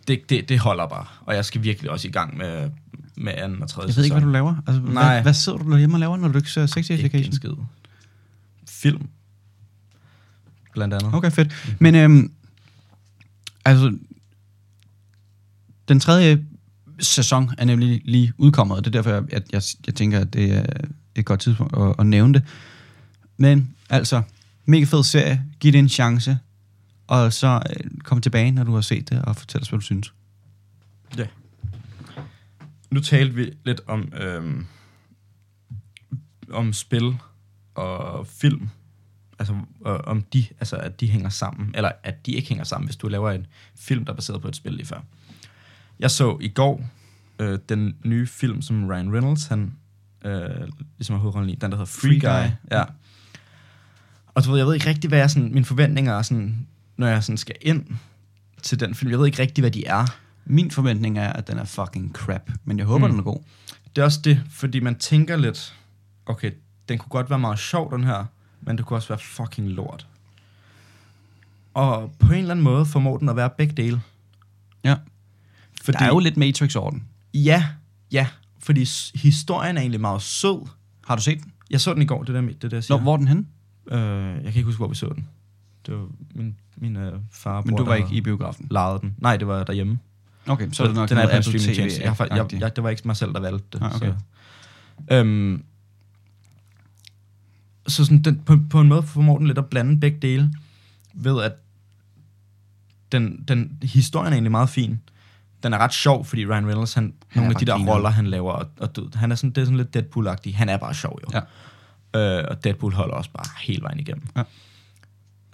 Det, det, det holder bare. Og jeg skal virkelig også i gang med, med anden og tredje
Jeg ved ikke,
sæson.
hvad du laver. Altså,
Nej.
Hvad, hvad sidder du derhjemme og laver, når du ikke ser sex
Ikke en
education?
skid. Film. Blandt andet.
Mm-hmm. Okay, fedt. Men øhm, altså, den tredje sæson er nemlig lige udkommet, og det er derfor, jeg, jeg, jeg, jeg tænker, at det er et godt tidspunkt at, at nævne det. Men altså, mega fed serie. Giv det en chance, og så øh, kom tilbage, når du har set det, og fortæl os, hvad du synes.
Ja. Nu talte vi lidt om, øhm, om spil og film. Altså og, om de, altså at de hænger sammen, eller at de ikke hænger sammen, hvis du laver en film, der er baseret på et spil lige før. Jeg så i går øh, den nye film, som Ryan Reynolds, han øh, ligesom har hovedrollen i, den der hedder Free,
Free
Guy.
Guy.
Ja. Og du ved, jeg ved ikke rigtig, hvad jeg sådan, mine forventninger er, sådan, når jeg sådan skal ind til den film. Jeg ved ikke rigtig, hvad de er.
Min forventning er, at den er fucking crap, men jeg håber, mm. den er god.
Det er også det, fordi man tænker lidt, okay, den kunne godt være meget sjov, den her, men det kunne også være fucking lort. Og på en eller anden måde formår den at være begge dele.
Ja.
Fordi,
Der er jo lidt matrix over den.
Ja, ja, fordi s- historien er egentlig meget sød.
Har du set den?
Jeg så den i går, det der, med- det der jeg
Nå,
siger.
hvor er den henne?
øh, jeg kan ikke huske, hvor vi så den. Det var min, min øh, far og
Men
bror,
du
der
var ikke
havde
i biografen.
lejet den. Nej, det var derhjemme.
Okay, så er det nok
den er
noget
på en
Apple
streamingtjeneste. Jeg, har fa- jeg,
TV-agtigt.
jeg, det var ikke mig selv, der valgte det.
Ah, okay.
så. Øhm, så sådan den, på, på en måde formår den lidt at blande begge dele, ved at den, den, historien er egentlig meget fin. Den er ret sjov, fordi Ryan Reynolds, han,
er
nogle af
ret
de der
grineren.
roller, han laver, og, og du, han er sådan, det er sådan lidt Deadpool-agtig. Han er bare sjov, jo. Ja. Øh, og Deadpool holder også bare hele vejen igennem.
Ja.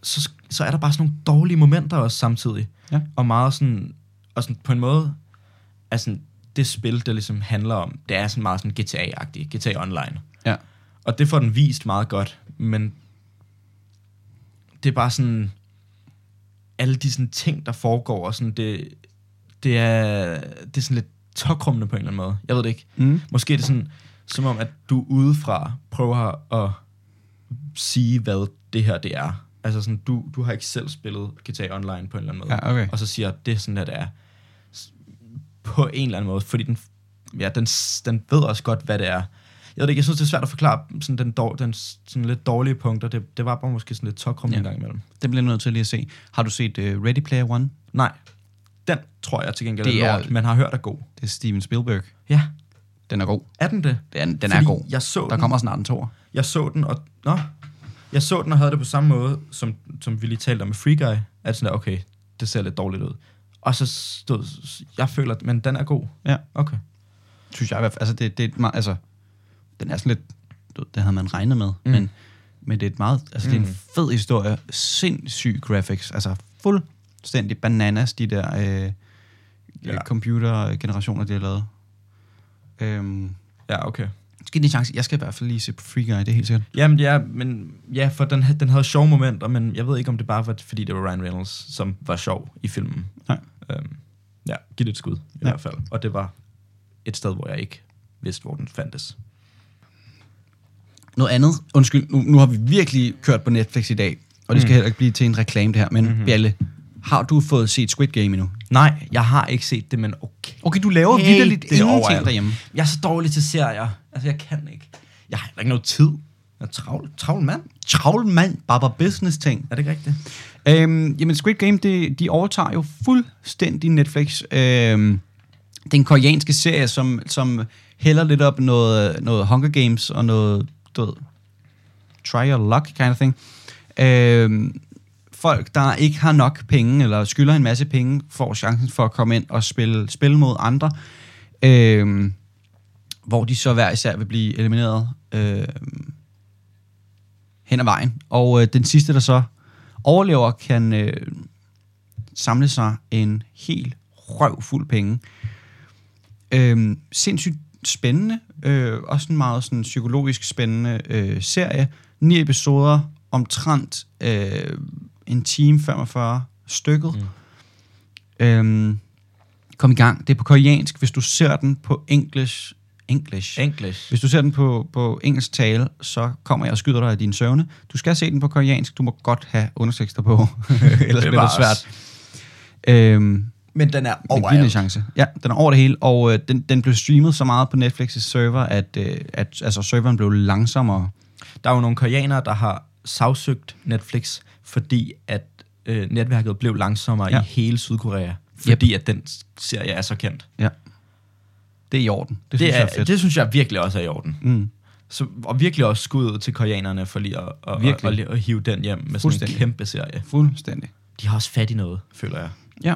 Så, sk- så er der bare sådan nogle dårlige momenter også samtidig.
Ja.
Og meget sådan, og sådan på en måde, er sådan, det spil, der ligesom handler om, det er sådan meget sådan GTA-agtigt, GTA Online.
Ja.
Og det får den vist meget godt, men det er bare sådan, alle de sådan ting, der foregår, og sådan, det, det er, det er sådan lidt tokrummende på en eller anden måde. Jeg ved det ikke.
Mm.
Måske er det sådan, som om, at du udefra prøver at sige, hvad det her det er. Altså sådan, du, du har ikke selv spillet GTA Online på en eller anden måde.
Ja, okay.
Og så siger, det er sådan, at det er. S- På en eller anden måde, fordi den, ja, den, s- den ved også godt, hvad det er. Jeg ved det ikke, jeg synes, det er svært at forklare sådan den, dår, den s- sådan lidt dårlige punkter. Det, det var bare måske sådan lidt tokrum ja. en gang imellem.
Det bliver jeg nødt til lige at se. Har du set uh, Ready Player One?
Nej, den tror jeg til gengæld
Det
er
er-
lort, men har hørt er god.
Det er Steven Spielberg.
Ja,
Den er god.
er den det?
Den, den
Fordi
er god.
Jeg så
Der
den,
kommer snart en toer.
Jeg så den, og... Nå. Jeg så den og havde det på samme måde, som, som vi lige talte om med Free Guy. at sådan, der, okay, det ser lidt dårligt ud. Og så stod, jeg føler, at, men den er god.
Ja.
Okay.
synes jeg i hvert fald. Altså, det, det er et meget, altså, den er sådan lidt, du ved, det havde man regnet med,
Mm.
mm. men, men det er et meget, altså mm. det er
Mm.
en fed historie, sindssyg graphics, altså fuldstændig bananas, de der øh,
Ja.
ja. computergenerationer, de har lavet. Øhm,
Ja, okay.
skal en chance, jeg skal i hvert fald lige se på Free Guy, det er helt sikkert.
Jamen, ja, men, ja for den, ha- den havde sjove momenter, men jeg ved ikke, om det bare var, fordi det var Ryan Reynolds, som var sjov i filmen.
Nej.
Øhm, ja, giv det et skud, i ja.
Ja.
hvert fald. Og det var et sted, hvor jeg ikke vidste, hvor den fandtes.
Noget andet, undskyld, nu, nu har vi virkelig kørt på Netflix i dag, og det skal heller ikke blive til en reklame det her, men Mm. mm-hmm. Bjalle, har du fået set Squid Game endnu?
Nej, jeg har ikke set det, men okay.
Okay, du laver
Hey,
hey, vidderligt
det er overalt.
ingenting derhjemme.
Jeg er så dårlig til serier. Altså, jeg kan ikke. Jeg har heller ikke noget tid. Jeg er travl, travl mand.
Travl mand, bare business ting.
Er det ikke rigtigt?
Øhm, jamen, Squid Game, det, de overtager jo fuldstændig Netflix. Øhm, den koreanske serie, som, som hælder lidt op noget, noget Hunger Games og noget, du ved, try your luck kind of thing. Øhm, folk, der ikke har nok penge, eller skylder en masse penge, får chancen for at komme ind og spille, spille mod andre. Øhm, hvor de så hver især vil blive elimineret øhm, hen ad vejen. Og øh, den sidste, der så overlever, kan øh, samle sig en helt røv fuld penge. Øhm, sindssygt spændende, øh, også en meget sådan, psykologisk spændende øh, serie. Ni episoder, omtrent øh, en time 45 stykket. Mm. Øhm, kom i gang. Det er på koreansk. Hvis du ser den på engelsk, engelsk,
English.
hvis du ser den på, på engelsk tale, så kommer jeg og skyder dig i dine søvne. Du skal se den på koreansk. Du må godt have undertekster på, ellers bliver det
Bevares.
svært. Øhm,
Men den er
men giv den en chance. Ja, den er over det hele, og øh, den, den blev streamet så meget på Netflix' server, at, øh, at altså, serveren blev langsommere.
Der er jo nogle koreanere, der har sagsøgt Netflix, fordi at øh, netværket blev langsommere ja.
Ja.
i hele Sydkorea. Fordi yep. at den s- serie er så kendt.
Ja. Det er i orden. Det, det
Det,
synes
det,
jeg er
er,
fedt.
det synes jeg virkelig også er i orden.
Mm.
Så, og virkelig også skud ud til koreanerne for lige at, at, at,
Virkelig.
at, at hive den hjem med sådan en
Fuldstændig.
kæmpe serie.
Fuldstændig.
De har også fat i noget, føler jeg.
Ja.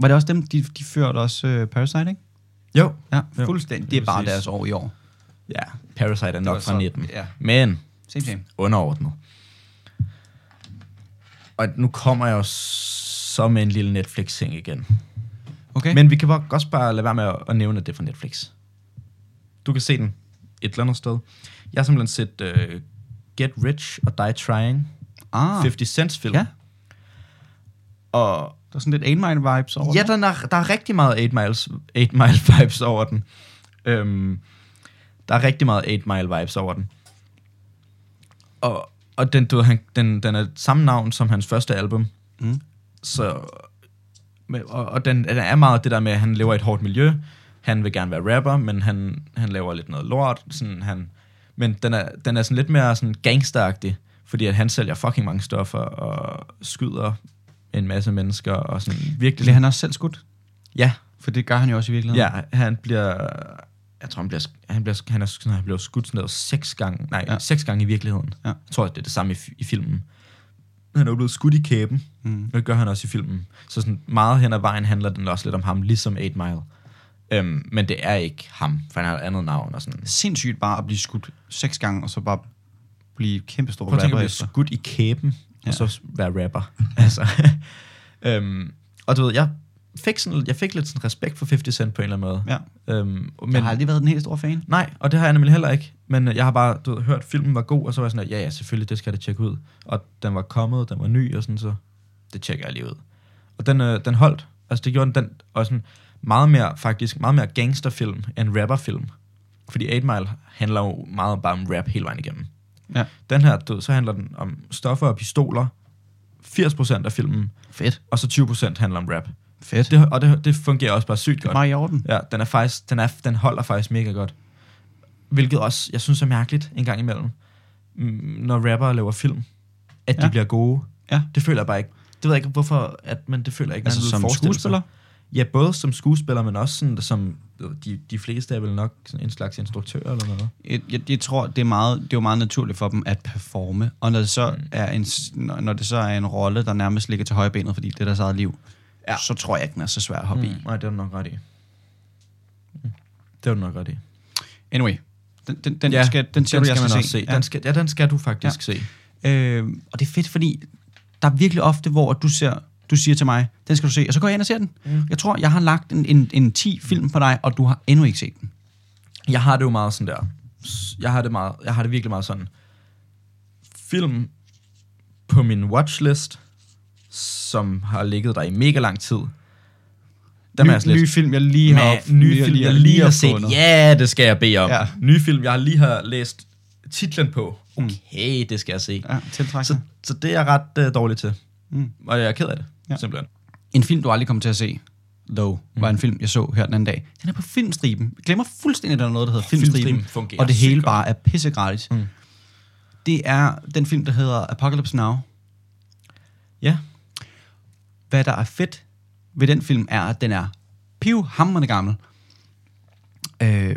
Var det også dem, de, de førte også øh, Parasite, ikke?
Jo.
Ja,
Jo,
fuldstændig.
lige
Det er bare
præcis.
deres år i år.
Ja, Parasite er
var
nok fra
så-
19.
ja.
Men
Same, same.
underordnet. Og nu kommer jeg jo så med en lille Netflix-ting igen.
Okay.
Men vi kan bare- også bare lade være med at, at nævne, at det er fra Netflix. Du kan se den et eller andet sted. Jeg har simpelthen set uh, Get Rich og Die Trying,
ah,
ah. 50 Cents film.
Ja.
Og
der er sådan lidt 8 Mile vibes over
ja,
den.
den er, der er rigtig meget 8 Miles, 8 Mile vibes over den. Øhm, der er rigtig meget 8 Mile vibes over den. Og, og den, du ved, han, den, den er samme navn som hans første album.
Mm.
Så, men- og, og den, den er meget det der med, at han lever i et hårdt miljø. Han vil gerne være rapper, men han, han laver lidt noget lort. Sådan, han, men den er, den er sådan lidt mere sådan gangsteragtig, fordi at han sælger fucking mange stoffer og skyder en masse mennesker og sådan virkelig...
Bliver han også selv skudt?
Ja,
For det gør han jo også i virkeligheden.
ja, han bliver... Jeg tror, han bliver, han bliver, han er, nej, han bliver skudt sådan noget seks gange. Nej, ja.
Ja.
seks gange i virkeligheden.
Ja.
Jeg tror, det er det samme i, fi- i filmen. Han er jo blevet skudt i kæben.
Mm.
Det gør han også i filmen. Så sådan meget hen ad vejen handler den også lidt om ham, ligesom 8 Mile. Øhm, men det er ikke ham, for han har et andet navn og sådan.
Sindssygt bare at blive skudt seks gange, og så bare blive kæmpestor
Prøv at tænke,
rapper
at blive
efter.
skudt i kæben, ja.
Ja.
og så være rapper. altså. øhm, og du ved, jeg fik, sådan, jeg fik lidt sådan respekt for 50 Cent på en eller anden måde.
Ja.
Øhm, men,
Men, jeg har aldrig været den helt store fan.
Nej, og det har jeg nemlig heller ikke. Men øh, jeg har bare du ved, hørt, at filmen var god, og så var jeg sådan, at ja, ja, selvfølgelig, det skal jeg da tjekke ud. Og den var kommet, den var ny, og sådan så, det tjekker jeg lige ud. Og den, øh, den holdt. Altså, det gjorde den, den og sådan meget mere, faktisk, meget mere gangsterfilm end rapperfilm. Fordi 8 Mile handler jo meget bare om rap hele vejen igennem.
Ja.
Den her, du ved, så handler den om stoffer og pistoler. 80% af filmen,
Fedt.
og så 20% handler om rap.
Fedt. Det
Det, og det, det fungerer også bare sygt
er
godt.
meget i orden.
Ja, den, er faktisk, den, er, den holder faktisk mega godt. Hvilket også, jeg synes er mærkeligt en gang imellem, mm, når rappere laver film, at ja. de
Ja.
bliver gode.
Ja.
Det føler jeg bare ikke. Det ved jeg ikke, hvorfor, at, men det føler jeg ikke,
Altså
man ville
som
forestille sig.
skuespiller?
Ja, både som skuespiller, men også sådan, som de, de fleste er vel nok sådan en slags instruktør eller noget.
Jeg, jeg, jeg tror, det er, meget, det er jo meget naturligt for dem at performe. Og når det så er en, s- når når det så er en rolle, der nærmest ligger til højbenet, fordi det er deres eget liv, ja.
Ja.
så tror jeg ikke, den er så svær at hoppe mm. i.
Nej, det er du nok ret i. Mm. Det er du nok ret i.
Anyway, den, den, den, ja, skal, den,
den
siger
skal
du, jeg
man
skal
også se.
Ja.
Den skal, ja, den skal du faktisk ja. se.
Øh, og det er fedt, fordi der er virkelig ofte, hvor du ser du siger til mig, den skal du se, og så går jeg ind og ser den. Mm. Jeg tror, jeg har lagt en, en, en 10 film på dig, og du har endnu ikke set den.
Jeg har det jo meget sådan der. S- Jeg har det, meget, jeg har det virkelig meget sådan. Film på min watchlist, som har ligget der i mega lang tid. Dem
ny,
er jeg slet
ny film, jeg lige har
med nye film, jeg lige har set.
opfundet.
Ja, det skal jeg bede om.
Ja. Mm.
Ja. Nye film, jeg lige har læst titlen på. Okay, det skal jeg se.
Ja, tiltræk
Så,
dig.
så det er jeg ret uh, dårlig til.
Mm.
Mm. Og jeg er ked af det,
Ja.
ja. simpelthen.
En film, du aldrig kommer til at se, Low, mm. var en film, jeg så her den anden dag. Den er på filmstriben. Jeg glemmer fuldstændig, at der er noget, der hedder filmstriben.
Filmstriben
filmstriben
fungerer
og det
sygt
hele
godt.
bare er pissegratis. Mm. Det er den film, der hedder Apocalypse Now.
Ja.
Hvad der er fedt ved den film, er, at den er pivhammerende gammel. Øh,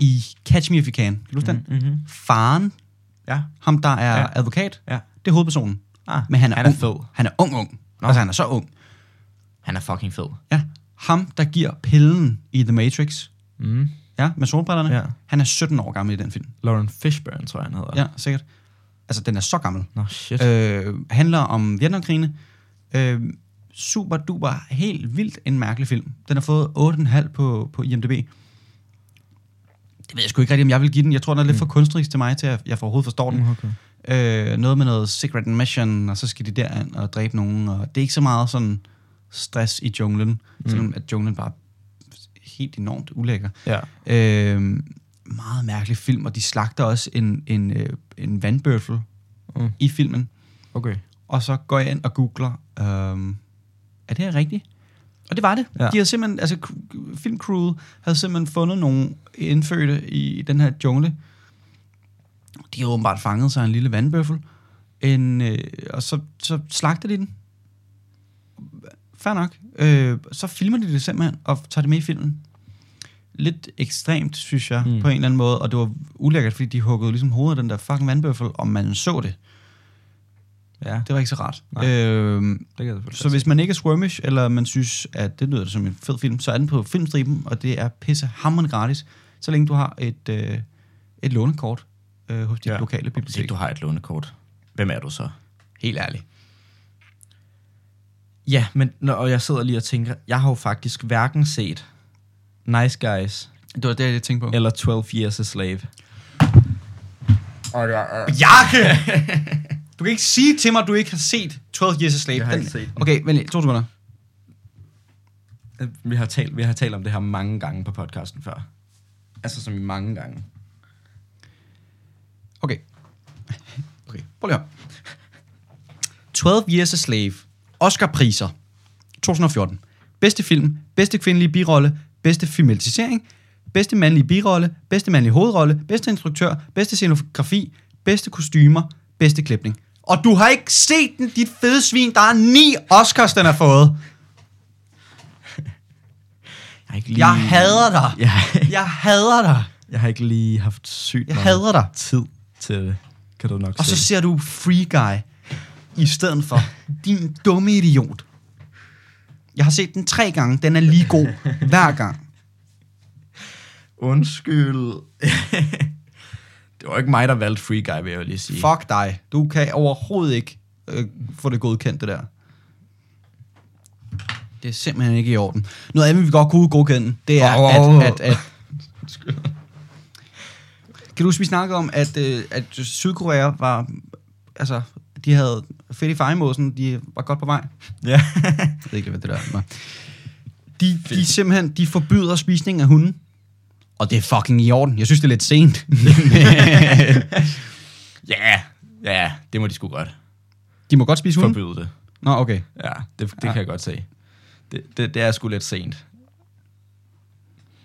I Catch Me If You Can. Kan du huske mm. den?
Mm-hmm.
Faren,
Ja.
ham der er ja.
Ja.
advokat,
Ja.
det er hovedpersonen.
Ah,
Men han er,
han er
ung.
fed.
Han er ung, ung. Altså, han er så ung.
Han er fucking fed.
Ja. Ham, der giver pillen i The Matrix.
Mm.
Ja, med solbrillerne.
Ja.
Han er 17 år gammel i den film.
Lauren Fishburne, tror jeg, han hedder.
Ja, sikkert. Altså, den er så gammel.
Nå, shit.
Øh, handler om Vietnamkrigene. Øh, super duper, helt vildt en mærkelig film. Den har fået 8,5 på, på IMDb. Det ved jeg sgu ikke rigtig, om jeg vil give den. Jeg tror, den er lidt for kunstnerisk til mig, til at jeg for overhovedet forstår den.
Mm, okay.
Øh, noget med noget secret mission, og så skal de derind og dræbe nogen. Og det er ikke så meget sådan stress i junglen, mm. selvom at junglen bare er helt enormt ulækker.
Ja.
Øh, meget mærkelig film, og de slagter også en, en, øh, en vandbøffel mm.
Mm.
i filmen.
Okay.
Og så går jeg ind og googler, øh, er det her rigtigt? Og det var det. Ja.
Ja.
De havde simpelthen, altså k- filmcrewet havde simpelthen fundet nogle indfødte i den her jungle. De havde åbenbart fanget sig en lille vandbøffel, en, øh, og så, så slagter de den. Fair nok. Øh, så filmer de det simpelthen, og tager det med i filmen. Lidt ekstremt, synes jeg, mm.
Mm.
på en eller anden måde, og det var ulækkert, fordi de huggede ligesom hovedet af den der fucking vandbøffel, og man så det.
Ja,
Det var ikke så rart.
Nej.
Øh,
det kan jeg selvfølgelig
så hvis man ikke er squirmish, eller man synes, at det lyder som en fed film, så er den på filmstriben, og det er pisse hammerende gratis, så længe du har et, øh, et lånekort øh, hos dit ja.
Ja.
lokale
Hvis
bibliotek.
ikke du har et lånekort, hvem er du så?
Helt ærligt.
Ja, men nå, og jeg sidder lige og tænker, jeg har jo faktisk hverken set Nice Guys
Det var det, jeg tænkte på.
eller 12 Years a Slave.
Bjarke! du kan ikke sige til mig, at du ikke har set 12 Years a Slave.
Jeg har
Den-
ikke set den.
Okay, vent lige, to sekunder.
Øh, Vi har, talt, vi har talt om det her mange gange på podcasten før. Altså som i mange gange.
Okay. Okay, prøv lige at høre. 12 Years a Slave. Oscar-priser. 2014. Bedste film, bedste kvindelige birolle, bedste filmatisering, bedste mandlige birolle, bedste mandlige hovedrolle, bedste instruktør, bedste scenografi, bedste kostymer, bedste klipning. Og du har ikke set den, dit fede svin. Der er ni Oscars, den har fået.
Jeg har ikke lige,
Jeg hader dig.
Jeg,
Jeg hader dig.
jeg har ikke lige haft sygt
Jeg
meget
hader dig.
tid til det. Kan du nok
Og så
se.
ser du Free Guy i stedet for. Din dumme idiot. Jeg har set den tre gange. Den er lige god hver gang.
Undskyld. det var ikke mig, der valgte Free Guy, vil jeg jo lige sige.
Fuck dig. Du kan overhovedet ikke øh, få det godkendt, det der. Det er simpelthen ikke i orden. Noget andet, vi godt kunne godkende, det er,
Åh.
at... at, at kan du huske, vi snakkede om, at, øh, at Sydkorea var... Altså, de havde fedt i fejmåsen, de var godt på vej.
Ja.
Jeg ved ikke, hvad det der var. De, de simpelthen, de forbyder spisning af hunden. Og det er fucking i orden. Jeg synes, det er lidt sent.
Ja, ja, det må de sgu godt.
de må godt spise hunden?
Forbyde det.
Nå, okay.
Ja, det, det ja. kan jeg godt se. Det, det, det er sgu lidt sent.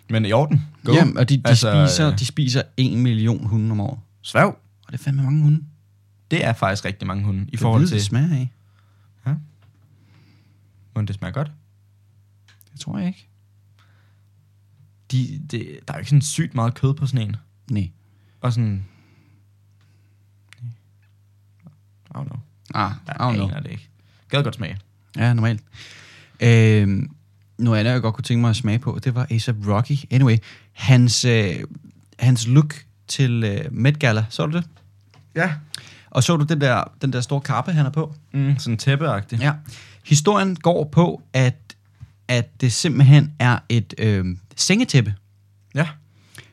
Men i orden. Go.
Jamen, og de, de, altså,
Altså,
spiser,
øh,
de spiser en million hunde om året.
Svæv.
Og det er fandme mange hunde. I
Det er faktisk rigtig mange hunde i forhold
det
til...
smager af.
Men det smager godt.
Jeg Det tror jeg ikke.
De, de, der er jo ikke sådan sygt meget kød på sådan en.
Nej.
Og sådan... I don't know.
Ah,
Jeg
I don't know.
aner det ikke. Gad godt smage.
Ja, normalt. Øhm, noget andet, jeg godt kunne tænke mig at smage på, det var A$AP Rocky. Anyway, hans, øh, hans look til øh, Met Gala, så du det?
Ja.
Og så du den der, den der store kappe, han er på?
Mm, sådan tæppeagtigt.
Ja. Historien går på, at, at det simpelthen er et øh, sengetæppe.
Ja.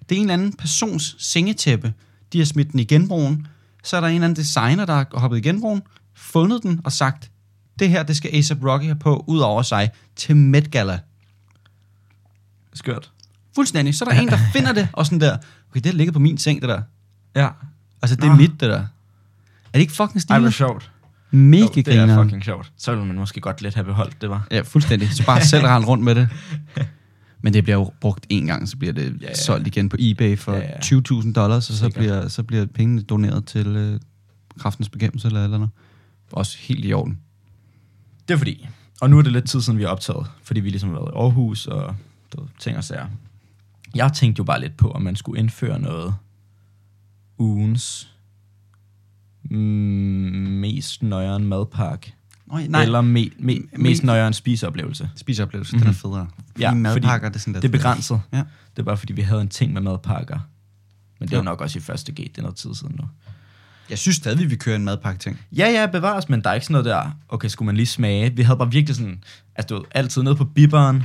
Det er en eller anden persons sengetæppe. De har smidt den i genbrugen. Så er der en eller anden designer, der har hoppet i genbrugen, fundet den og sagt, det her, det skal A$AP Rocky have på, ud over sig, til Met Gala.
Skørt.
Fuldstændig. Så er der en, der finder det, og sådan der, okay, det ligger på min seng, det der.
Ja.
Altså, det er
Nå.
mit, det der. Er det ikke fucking
Ej, hvor
stilet?
sjovt. Jo,
Mega
det er
grineren.
fucking sjovt. Så ville man måske godt lidt have beholdt det, var.
Ja, fuldstændig. Så bare selv rende rundt med det. Men det bliver jo brugt en gang, så bliver det ja,
ja.
ja. solgt igen på eBay for
Ja,
ja,
ja.
ja. 20.000 dollars, og så
Sikkert.
bliver, så bliver pengene doneret til øh, kraftens bekæmpelse eller et eller andet. Også helt i orden.
Det er fordi. Og nu er det lidt tid siden, vi har optaget, fordi vi ligesom har været i Aarhus og du ved, ting og sager. Jeg tænkte jo bare lidt på, om man skulle indføre noget ugens mm, mest nøjeren madpakke.
Nej,
Nej.
nej. Eller
Eller me, me, mest nøjeren spiseoplevelse.
spiseoplevelse, mm-hmm. den er federe.
Ja,
Ja,
fordi
madpakker, det er sådan der.
Det er begrænset.
Ja.
Det er bare fordi, vi havde en ting med madpakker. Men det er jo
Ja.
nok også i første G, det er noget tid siden nu.
Jeg synes stadig, vi vil køre en madpakke-ting.
Ja, ja, bevares, men der er ikke sådan noget der, okay, skulle man lige smage? Vi havde bare virkelig sådan, altså du ved, altid nede på bibberen,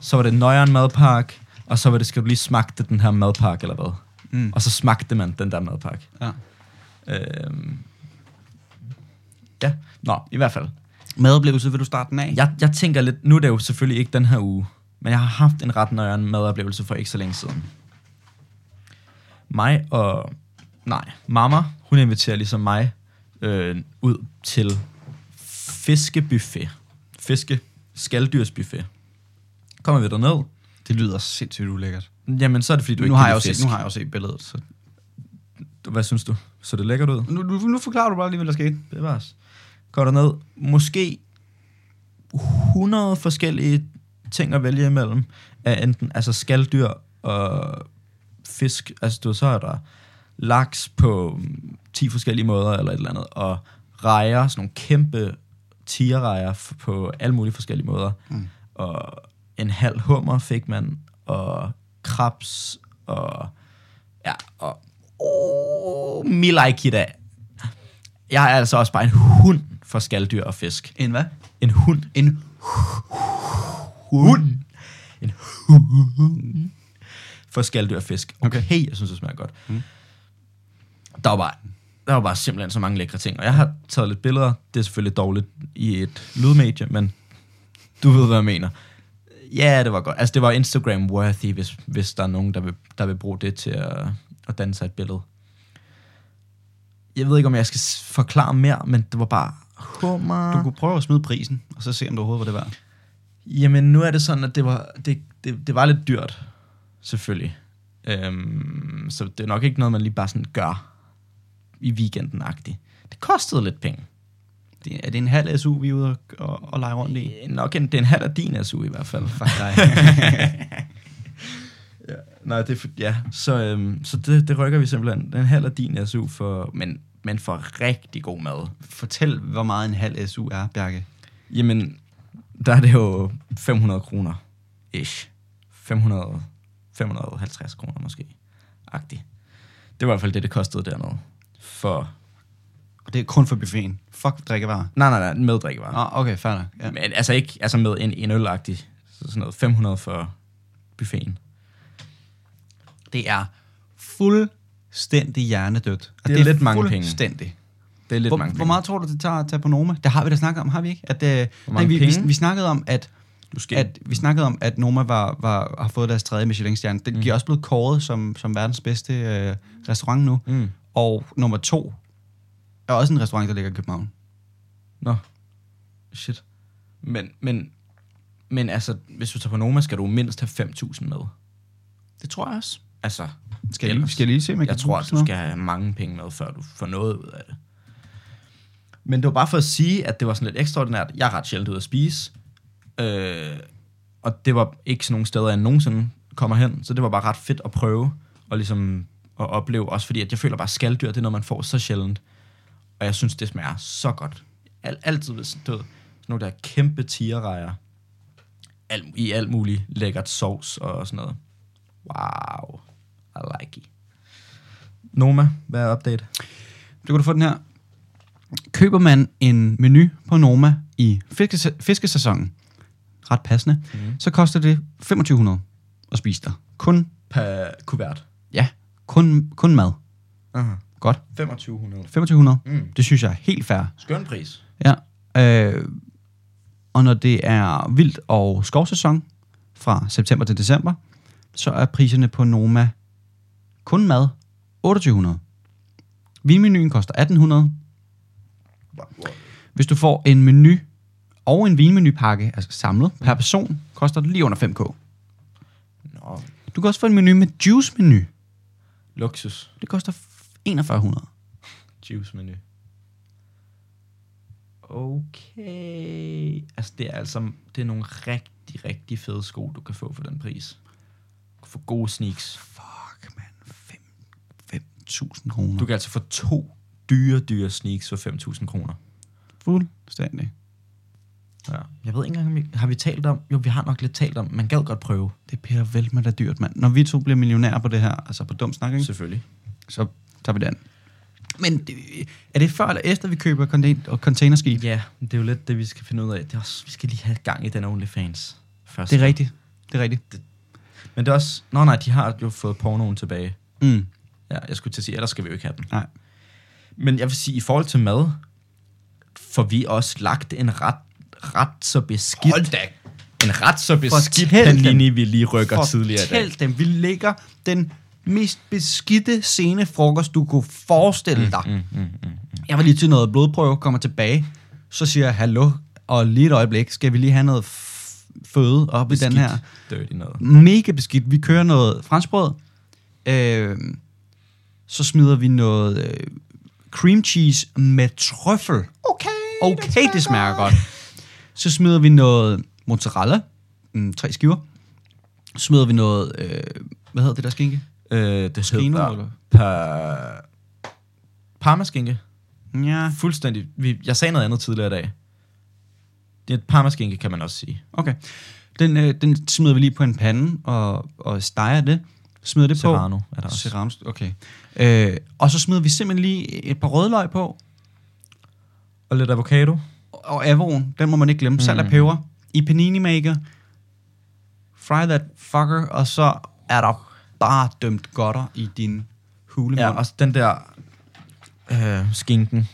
så var det nøjeren madpakke, og så var det, skal du lige smagte den her madpakke, eller hvad?
Mm.
Og så smagte man den der madpakke.
Ja.
Øhm, ja, nå, i hvert fald.
Madoplevelse, vil du starte den af?
Jeg, jeg tænker lidt, nu er det jo selvfølgelig ikke den her uge, men jeg har haft en ret nøjeren madoplevelse for ikke så længe siden. Mig og, nej, mamma, hun inviterer ligesom mig øh, ud til fiskebuffet. Fiske, skalddyrsbuffet. Kommer vi derned?
Det lyder sindssygt ulækkert.
Jamen, så er det fordi, du
Nu
ikke
har,
kan
jeg jo
lide
set,
fisk.
nu har jeg jo set billedet. Så.
Hvad synes du? Så det lækkert ud?
Nu, nu, nu forklarer du bare lige, hvad der skete.
Bevares. Går derned. Måske 100 forskellige ting at vælge imellem. Af enten altså skalddyr og fisk. Altså du, ved, så er der laks på mm, 10 forskellige måder eller et eller andet. Og rejer, sådan nogle kæmpe tierrejer f- på alle mulige forskellige måder. Mm. Og en halv hummer fik man. Og krabs og... Ja, og... Oh, me like it, af. Jeg er altså også bare en hund for skalddyr og fisk.
En hvad?
En hund.
En
Hund. En hund. For skalddyr og fisk. Okay, okay. jeg synes, det smager godt. Mm. Der var bare der var bare simpelthen så mange lækre ting. Og jeg har taget lidt billeder. Det er selvfølgelig dårligt i et lydmedie, men du ved, hvad jeg mener. Ja, det var godt. Altså, det var Instagram-worthy, hvis, hvis der er nogen, der vil, der vil bruge det til at, at danne sig et billede. Jeg ved ikke, om jeg skal s- forklare mere, men det var bare hummer.
Du kunne prøve at smide prisen, og så se, om det overhovedet var det værd.
Jamen, nu er det sådan, at det var, det, det, det var lidt dyrt, selvfølgelig. Øhm, så det er nok ikke noget, man lige bare sådan gør i weekenden-agtigt. Det kostede lidt penge.
Det, er det en halv SU, vi er ude og, og, og lege rundt i?
Det er nok en, det er en halv af din SU i hvert fald.
Fuck dig.
Nej, det er for, ja. Så, øhm, så det, det rykker vi simpelthen. Det er En halv af din SU for, men, men for rigtig god mad.
Fortæl, hvor meget en halv SU er, Bjarke.
Jamen, der er det jo 500 kroner. Ish. 500, 550 kroner måske. Agtigt. Det var i hvert fald det, det kostede dernede. For...
Og det er kun for buffeten. Fuck drikkevarer.
Nej, nej, nej, med drikkevarer.
Ah, okay, fair nok. Ja.
Men altså ikke altså med en, en ølagtig. Så sådan noget 500 for buffeten.
Det er fuldstændig hjernedødt. Og
Det er lidt mange penge.
Fuldstændig.
Det er lidt
Hvor,
mange
hvor meget tror du, det tager at tage på Noma? Det har vi da snakket om, har vi ikke? At, øh,
Hvor
nej,
mange
vi, vi,
penge?
vi, snakkede om, at,
Måske.
at vi snakkede om, at Noma var, var, har fået deres tredje Michelin-stjerne. Den,
Mm.
De er også blevet kåret som, som verdens bedste øh, restaurant nu.
Mm.
Og nummer to er også en restaurant, der ligger i København.
Nå. Shit. Men, men, men altså, hvis du tager på Noma, skal du mindst have 5.000 med.
Det tror jeg også.
Altså,
Skal jeg, lige,
ellers-
skal jeg lige se, om jeg,
Jeg
kan
tror,
huske
at du
noget?
skal have mange penge med, før du får noget ud af det. Men det var bare for at sige, at det var sådan lidt ekstraordinært. Jeg er ret sjældent ude at spise. Øh, Og det var ikke sådan nogle steder, jeg nogensinde kommer hen, så det var bare ret fedt at prøve og ligesom at opleve, også fordi at jeg føler bare, at skalddyr, det er noget, man får så sjældent. Og jeg synes, det smager så godt. Al- altid, hvis du ved, sådan nogle der kæmpe tigerrejer, al- i alt muligt lækkert sovs og sådan noget. Wow, I like it. Noma, hvad er update?
Du kan du få den her. Køber man en menu på Noma i fiskes- fiskesæsonen, ret passende, mm. så koster det 2500 at spise der. Kun,
Per kuvert.
ja, kun, kun mad.
Uh-huh.
Godt.
2500.
2500.
Mm.
Det synes jeg er helt fair.
Skøn pris.
Ja. Øh, og når det er vildt og skovsæson fra september til december, så er priserne på Noma kun mad 2800. Vinmenuen koster 1800. Hvis du får en menu og en vinmenupakke, altså samlet per person, koster det lige under 5k.
Nå,
Du kan også få en menu med juice-menu.
luksus
Det koster 4100.
juice menu. Okay. Altså, det er altså det er nogle rigtig, rigtig fede sko, du kan få for den pris. Du kan få gode sneaks.
Fuck, mand. Fem- 5.000 kroner.
Du kan altså få to dyre, dyre sneaks for 5.000 kroner.
fuldstændig.
Ja. Jeg ved ikke engang, om vi, har vi talt om... Jo, vi har nok lidt talt om, man gad godt prøve.
Det er Peter Veltmer, der er dyrt, mand. Når vi to bliver millionærer på det her, altså på dum snak, ikke?
Selvfølgelig.
så tager vi det an. Men det- er det før eller efter, vi køber contain- og containerskib?
Ja, det er jo lidt det, vi skal finde ud af. Det er også, vi skal lige have gang i den OnlyFans først.
Det er rigtigt. Det er rigtigt.
Men det er også... Nå nej, de har jo fået pornoen tilbage.
Mm.
Ja, jeg skulle til at sige, ellers skal vi jo ikke have den.
Nej.
Men jeg vil sige, i forhold til mad, får vi også lagt en ret, ret så beskidt...
Hold da.
En ret så beskidt
Fortæl dem.
panini, vi lige rykker tidligere i dag.
Fortæl dem, vi lægger den mest beskidte sene frokost, du kunne forestille dig. Mm, mm, mm, mm. Jeg var lige til noget blodprøve, kommer tilbage, så siger jeg, hallo, og lige et øjeblik, skal vi lige have noget f- føde op i den her.
Dirty noget.
mega beskidt. Vi kører noget franskbrød. Øh, så smider vi noget øh, cream cheese med trøffel. Okay, okay det smager godt. Så smider vi noget mozzarella. Mm, tre skiver. Så smider vi noget... Øh, hvad hedder det der skinke?
Øh, det
Skino,
hedder...
eller?
Pa... Parmaskinke.
Ja,
Fuldstændig. Vi, jeg sagde noget andet tidligere i dag. Det er et parmaskinke, kan man også sige.
okay. Den, øh, den smider vi lige på en pande og, og steger det. Smider det på.
Serrano er der også.
Serrano, okay. Øh, og så smider vi simpelthen lige et par rødløg på,
Og lidt avocado.
og Avon, den må man ikke glemme. Mm. Salt og peber i panini maker. Fry that fucker, og så er der bare dømt godter i din hulemund.
Ja,
Ja,
også den der øh, skinken,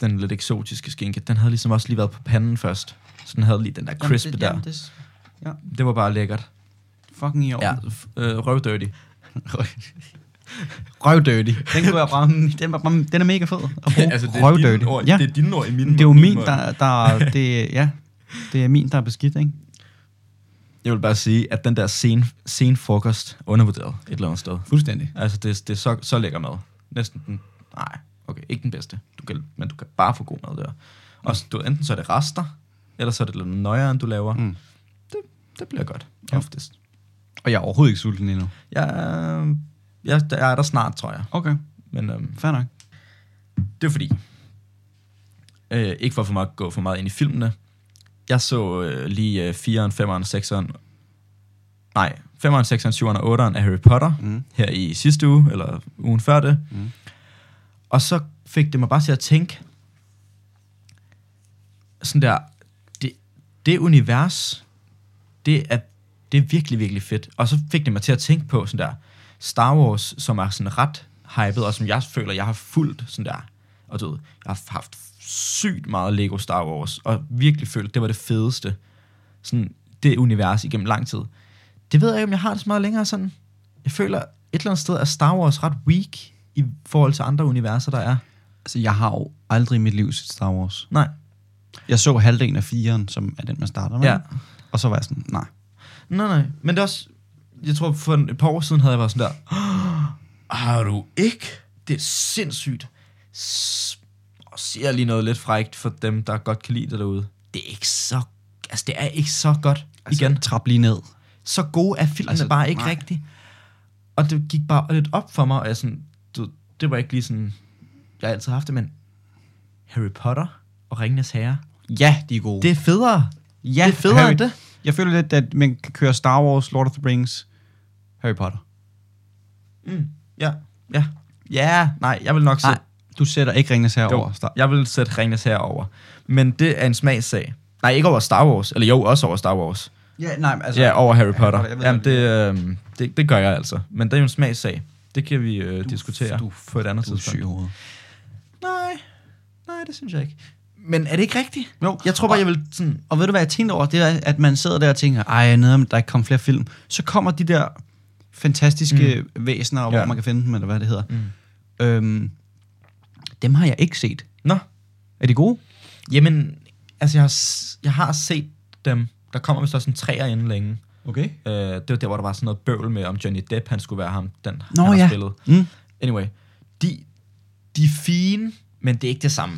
den lidt eksotiske skinke, den havde ligesom også lige været på panden først. Så den havde lige den der crisp
det,
der.
Jamen,
det...
det
det var bare lækkert.
er fucking i orden.
Ja,
Ja.
f- øh, røvdirty.
Røvdødig. Den kunne jeg bare... Den, var bare, den er mega fed. At bruge. altså,
er dine
Røvdødig.
ord,
Ja,
det er dine ord i min
det er jo min, der... der det, ja, det er min, der er beskidt, ikke?
Jeg vil bare sige, at den der sen, sen frokost undervurderet et eller andet sted.
Fuldstændig.
Altså, det, det er så, så lækker mad. Næsten den... Nej, okay, ikke den bedste. Du kan, men du kan bare få god mad der. Og du, enten så er det rester, eller så er det lidt nøjere, end du laver.
Mm.
Mm. Det, det bliver godt,
Ja.
ja. oftest.
Og jeg er overhovedet ikke sulten endnu.
Jeg, jeg, jeg er der snart, tror jeg.
Okay,
Men øhm,
fair nok.
det er fordi, øh, ikke for for meget, gå for meget ind i filmene. Jeg så øh, lige øh, 4'eren, 5'eren, 6'eren, nej, 5'eren, 6'eren, 7'eren og 8'eren af Harry Potter
Mm.
mm. her i sidste uge, eller ugen før det. Mm. Og så fik det mig bare til at tænke, sådan der, det, det univers, det er, det er virkelig, virkelig fedt. Og så fik det mig til at tænke på sådan der, Star Wars, som er sådan ret hyped, og som jeg føler, jeg har fulgt sådan der. Og du ved, jeg har haft sygt meget Lego Star Wars, og virkelig følt, det var det fedeste. Sådan det univers igennem lang tid. Det ved jeg ikke, om jeg har det så meget længere sådan. Jeg føler, et eller andet sted er Star Wars ret weak i forhold til andre universer, der er.
Altså, jeg har jo aldrig i mit liv set Star Wars.
Nej,
Jeg så halvdelen af firen, som er den, man starter med.
Ja.
Og så var jeg sådan, nej.
Nej, nej. Men det er også... Jeg tror, for en- et par år siden havde jeg været sådan der... "Åh, Har du ikke? Det er sindssygt. S- og siger lige noget lidt frægt for dem, der godt kan lide det derude. Det er ikke så altså, det er ikke så godt altså,
Altså,
igen.
Trap lige ned.
Så gode er filmene altså,
Altså,
bare ikke
nej.
rigtigt. Og det gik bare lidt op for mig, og jeg sådan, du, ved, det var ikke lige sådan, jeg har altid haft det, men Harry Potter og Ringenes Herre,
Ja, de er gode.
det er federe.
ja,
det er federe end det.
Jeg føler lidt, at man kan køre Star Wars, Lord of the Rings, Harry Potter.
Mm, ja, ja. Ja, nej, jeg vil nok sætte,
Nej, du sætter ikke Ringens her
jo,
over Star.
jeg vil sætte Ringenes Herre over. Men det er en smagssag. Nej, ikke over Star Wars. Eller jo, også over Star Wars.
Ja, nej, men
Altså, ja, over Harry Potter.
Potter, jeg ved
Jamen,
godt,
det, øh, det, det gør jeg altså. Men det er jo en smagssag. Det kan vi øh, diskutere
du-
på et andet
du er syg i
tidspunkt.
hovedet.
Nej, nej, det synes jeg ikke. Men er det ikke rigtigt?
Jo,
Jeg tror bare,
og-
jeg vil sådan...
Og ved du, hvad jeg tænkte over? Det er, at man sidder der og tænker, ej, nede om der ikke kommer flere film. Så kommer de der fantastiske mm. væsener, hvor
Ja.
man kan finde dem, eller hvad det hedder. Mm. Øhm, dem har jeg ikke set.
Nå,
Er de gode?
jamen, altså jeg har, s- jeg har set dem. Der kommer vist også en træer inden længe.
Okay.
Øh, det var der, hvor der var sådan noget bøvl med, om Johnny Depp, han skulle være ham, den
Nå,
han har
ja.
spillet.
Mm.
Anyway, de, de er fine, men det er ikke det samme.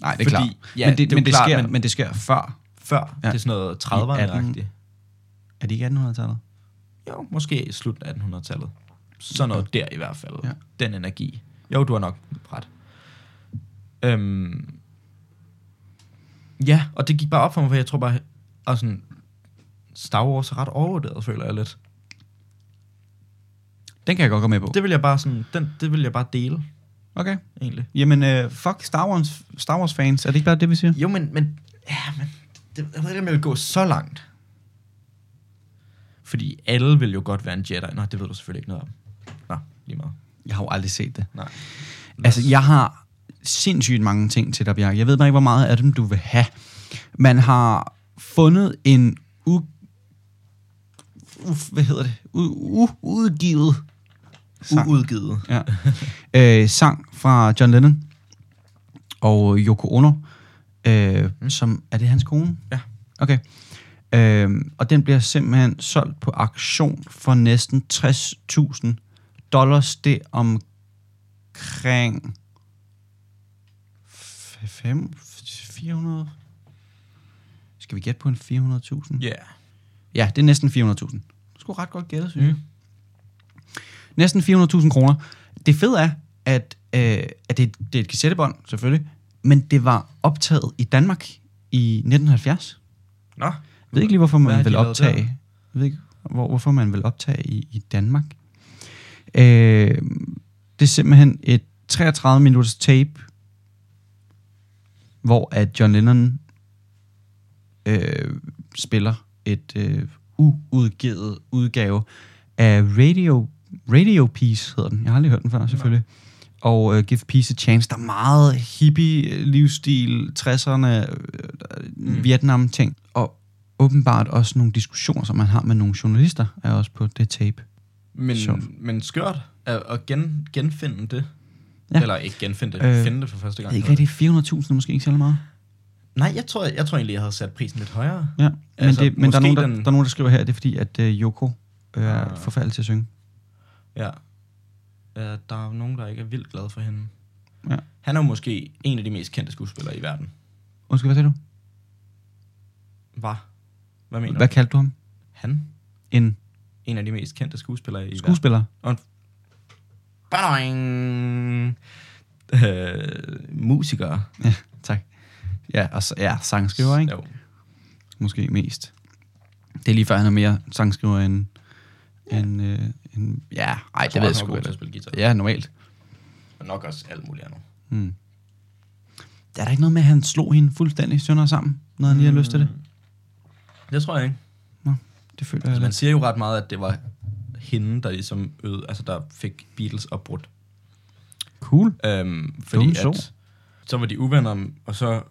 Nej, det er
Fordi-
klart.
ja,
Ja, men, det, det,
det er jo
men, det
klart,
sker,
men-
men, men det sker før.
Før, ja.
Ja.
det er sådan noget
I 18.
30'erne-agtigt.
Er det ikke 1800-tallet?
Jo, måske i slutten af 1800-tallet. Sådan noget der i hvert fald. Ja.
Ja.
Den energi. Jo, du har nok ret. Øhm, ja, og det gik bare op for mig, for jeg tror bare, og sådan, Star Wars er ret overvurderet, føler jeg lidt.
Den kan jeg godt gå med på.
Det vil jeg bare sådan, den, det vil jeg bare dele,
Okay.
egentlig.
Jamen, øh, fuck Star Wars, Star Wars fans. Er det ikke bare det, vi siger?
Jo, men, men, ja, men det, jeg ved ikke, om jeg vil gå så langt. Fordi alle vil jo godt være en Jedi. Nå, det ved du selvfølgelig ikke noget om. Nå, lige meget.
Jeg har jo aldrig set det.
Nej.
Altså, jeg har sindssygt mange ting til dig, Bjarke. Jeg ved bare ikke, hvor meget af dem du vil have. Man har fundet en u... Uf, hvad hedder det? U, u, udgivet sang.
Uudgivet.
ja. øh, sang fra John Lennon og Yoko Ono, øh, som er det hans kone?
Ja.
Okay. Øh, og den bliver simpelthen solgt på auktion for næsten 60.000 dollars. Det er omkring f- fem- 400... Skal vi gætte på en 400.000?
Ja. Yeah.
Ja, det er næsten 400.000. Skulle ret godt gætte, synes jeg.
Mm.
Næsten 400.000 kroner. Det fede er, at, øh, at det, det er et kassettebånd, selvfølgelig, men det var optaget i Danmark i 1970.
Nå.
Jeg ved ikke lige, hvorfor
Hvad
man
har de
vil
lavet
optage.
der?
Jeg ved ikke, hvor, hvorfor man vil optage i, i Danmark. Øh, det er simpelthen et 33 minutters tape, hvor at John Lennon øh, spiller et øh, uudgivet udgave af Radio, Radio Peace, hedder den. Jeg har aldrig hørt den før, selvfølgelig. Og øh, Give Peace a Chance. Der er meget hippie-livsstil, 60'erne, øh,
Mm.
mm. Vietnam-ting. Og åbenbart også nogle diskussioner, som man har med nogle journalister, er også på det tape.
Men,
Sjovt.
men skørt at, at gen, genfinde det. Ja.
Ja.
Eller ikke genfinde det, øh,
Øh,
finde det for første
Jeg
gang.
ved ikke rigtigt, 400.000 er måske ikke særlig meget.
Nej, jeg tror, jeg tror egentlig, jeg havde sat prisen lidt højere.
Ja. Men, altså,
Altså,
det, men der, er
måske
nogen, der,
den-
der er nogen, der skriver her, at det er fordi, at øh, Yoko øh, er
Ah.
forfærdelig til at synge.
Ja. ja. Der er jo nogen, der ikke er vildt glade for hende.
Ja.
Han er jo måske en af de mest kendte skuespillere i verden.
Undskyld, hvad sagde du?
Var? Hvad mener
Hvad
du?
kaldte du ham?
Han?
En
En af de mest kendte skuespillere i verden.
skuespiller?
Badoing! Øh, musikere.
Ja, tak. Ja, og så, ja, sangskriver, ikke?
Jo.
Måske mest. Det er lige før, han er mere sangskriver end... Ja. End, øh, end, ja, ej, det
tror,
ved jeg
han var
sgu
god til at
ikke.
spille guitar.
Ja, normalt.
Og nok også alt muligt andet.
Hmm. Er der ikke noget med, at han slog hende fuldstændig sønder sammen, når han lige har lyst til det?
Det tror jeg ikke.
Nå, det føler jeg
Altså, man
lidt.
siger jo ret meget, at det var hende, der ligesom øde, altså der fik Beatles opbrudt.
Cool.
Øhm, fordi
Dumme så.
at, så var de uvenner, og så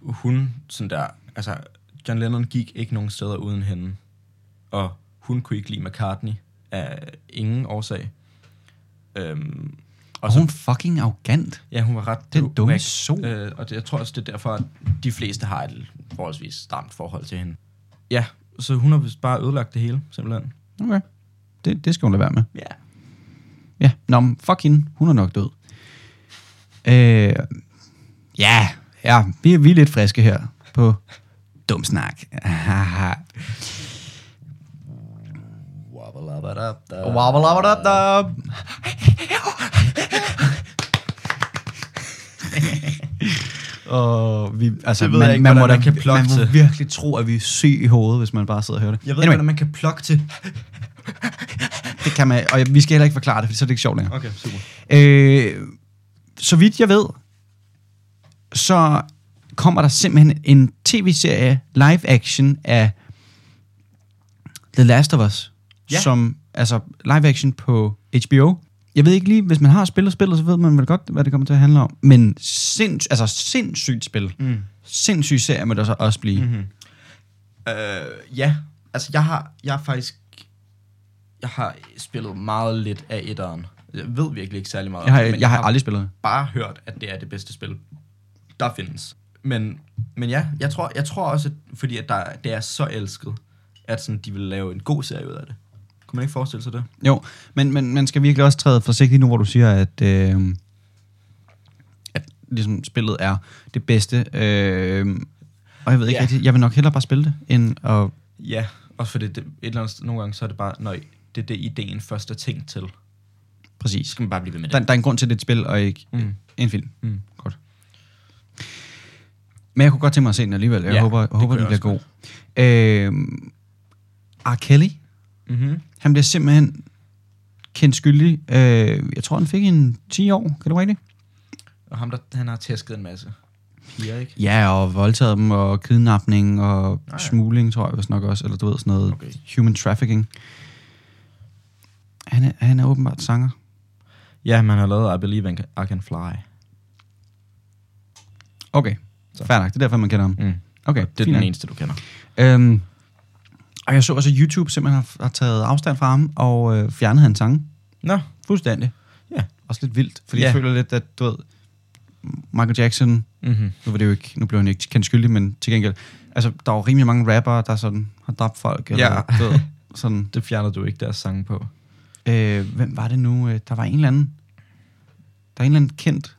hun sådan der, altså John Lennon gik ikke nogen steder uden hende. Og hun kunne ikke lide McCartney af ingen årsag. Øhm,
Og hun er fucking arrogant.
ja, hun var ret
Den
dum-
dumme
væk.
so.
Øh, og det, jeg tror også, det er derfor, at de fleste har et forholdsvis stramt forhold til hende. Ja, så hun har vist bare ødelagt det hele, simpelthen.
Okay. Det, det skal hun lade være med.
Ja. Yeah.
Ja, nå, men fuck hende. Hun er nok død. Øh, ja, ja, vi er, vi er lidt friske her på Dum snak. Haha.
Wabba-labba-dab-dab.
Og vi, altså,
Det ved jeg ikke, hvordan man kan plukke
man må
til.
virkelig tro, at vi er syg i hovedet, hvis man bare sidder og hører det.
Jeg ved ikke, hvordan man kan plukke til.
det kan man, og jeg- vi skal heller ikke forklare det, for så er det ikke sjovt længere.
Okay, super.
Øh, så vidt jeg ved, så kommer der simpelthen en tv-serie live action af The Last of Us,
Ja.
som altså live action på HBO. Jeg ved ikke lige, hvis man har spillet spillet, så ved man vel godt, hvad det kommer til at handle om. Men sinds, altså sindssygt spil. Mm. Sindssyg serie må der så også blive. Mm-hmm.
Øh, ja, altså jeg har, jeg har faktisk... Jeg har spillet meget lidt af etteren. Jeg ved virkelig ikke særlig meget. om
Jeg, har,
det, men
jeg har aldrig spillet det.
bare hørt, at det er det bedste spil, der findes. Men, men ja, jeg tror, jeg tror også, at, fordi at der, det er så elsket, at sådan, de vil lave en god serie ud af det. Kunne man ikke forestille sig det?
Jo, men, men man skal virkelig også træde forsigtigt nu, hvor du siger, at, øh, at ligesom spillet er det bedste. Øh, og jeg ved ikke
Ja.
ja. rigtig, jeg vil nok hellere bare spille det, end at...
Ja, også fordi det, et eller andet, sted- nogle gange så er det bare, nej, det er det, ideen først er tænkt til. Så
Præcis.
skal man bare blive ved med
Der,
det.
der er en grund til, at det er et spil, og ikke
Mm.
mm. en film.
Mm.
Godt. Men jeg kunne godt tænke mig at se den alligevel. Jeg
Ja,
ja, håber, jeg
det
håber
kunne
den
jeg
bliver god. Øh, R. Kelly,
Mm-hmm.
han bliver simpelthen kendt skyldig. Øh, jeg tror, han fik en 10 år. Kan det være det?
Og ham, der, han har tæsket en masse piger, ikke?
Ja, og voldtaget dem, og kidnapning, og
ja.
ja. smugling, tror jeg vist nok også. Eller du ved, sådan noget
Okay.
okay. human trafficking. Han er, han er åbenbart sanger.
Ja, man har lavet I Believe I Can- I Can Fly.
Okay,
Så.
så. fair nok. Det er derfor, man kender ham.
Mm.
Okay,
Det er den eneste, du kender.
ene. Øhm, og jeg så også, at YouTube simpelthen har, har taget afstand fra ham, og øh, fjernet hans sange.
Nå,
Fuldstændig.
Ja.
Også lidt vildt, fordi
Ja.
jeg føler lidt, at du ved, Michael Jackson,
mm-hmm.
nu, var det jo ikke, nu blev han ikke kendt skyldig, men til gengæld, altså, der er jo rimelig mange rappere, der sådan har dræbt folk, eller
Ja. Mm.
du ved, sådan,
det fjerner du ikke deres sange på.
Øh, hvem var det nu? Øh, Der var en eller anden, der er en eller anden kendt,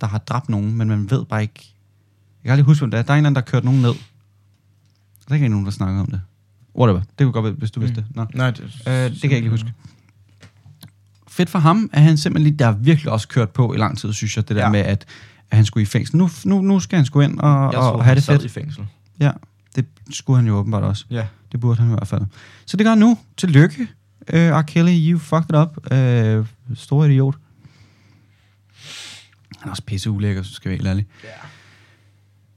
der har dræbt nogen, men man ved bare ikke. Jeg kan aldrig huske, hvem det er. Der er en eller anden, der har kørt nogen ned. Der er ikke rigtig nogen, der snakker om det. Whatever. Det kunne godt være, hvis du mm. vidste det. Nå.
Nej, det,
Øh, det kan jeg ikke lige huske. Fedt for ham, at han simpelthen lige, der har virkelig også kørt på i lang tid, synes jeg, det der
Ja.
ja. med, at, at han skulle i fængsel. Nu, nu, nu skal han sgu ind og,
Jeg
og,
troede,
og
han
have det
sad
fedt.
i fængsel.
Ja, det skulle han jo åbenbart også.
Ja.
Det burde han i hvert fald. Så det gør han nu. Tillykke, uh, R. Kelly. You fucked it up. Uh, stor idiot. Han er også pisse ulækker, så skal vi helt ærligt.
Ja.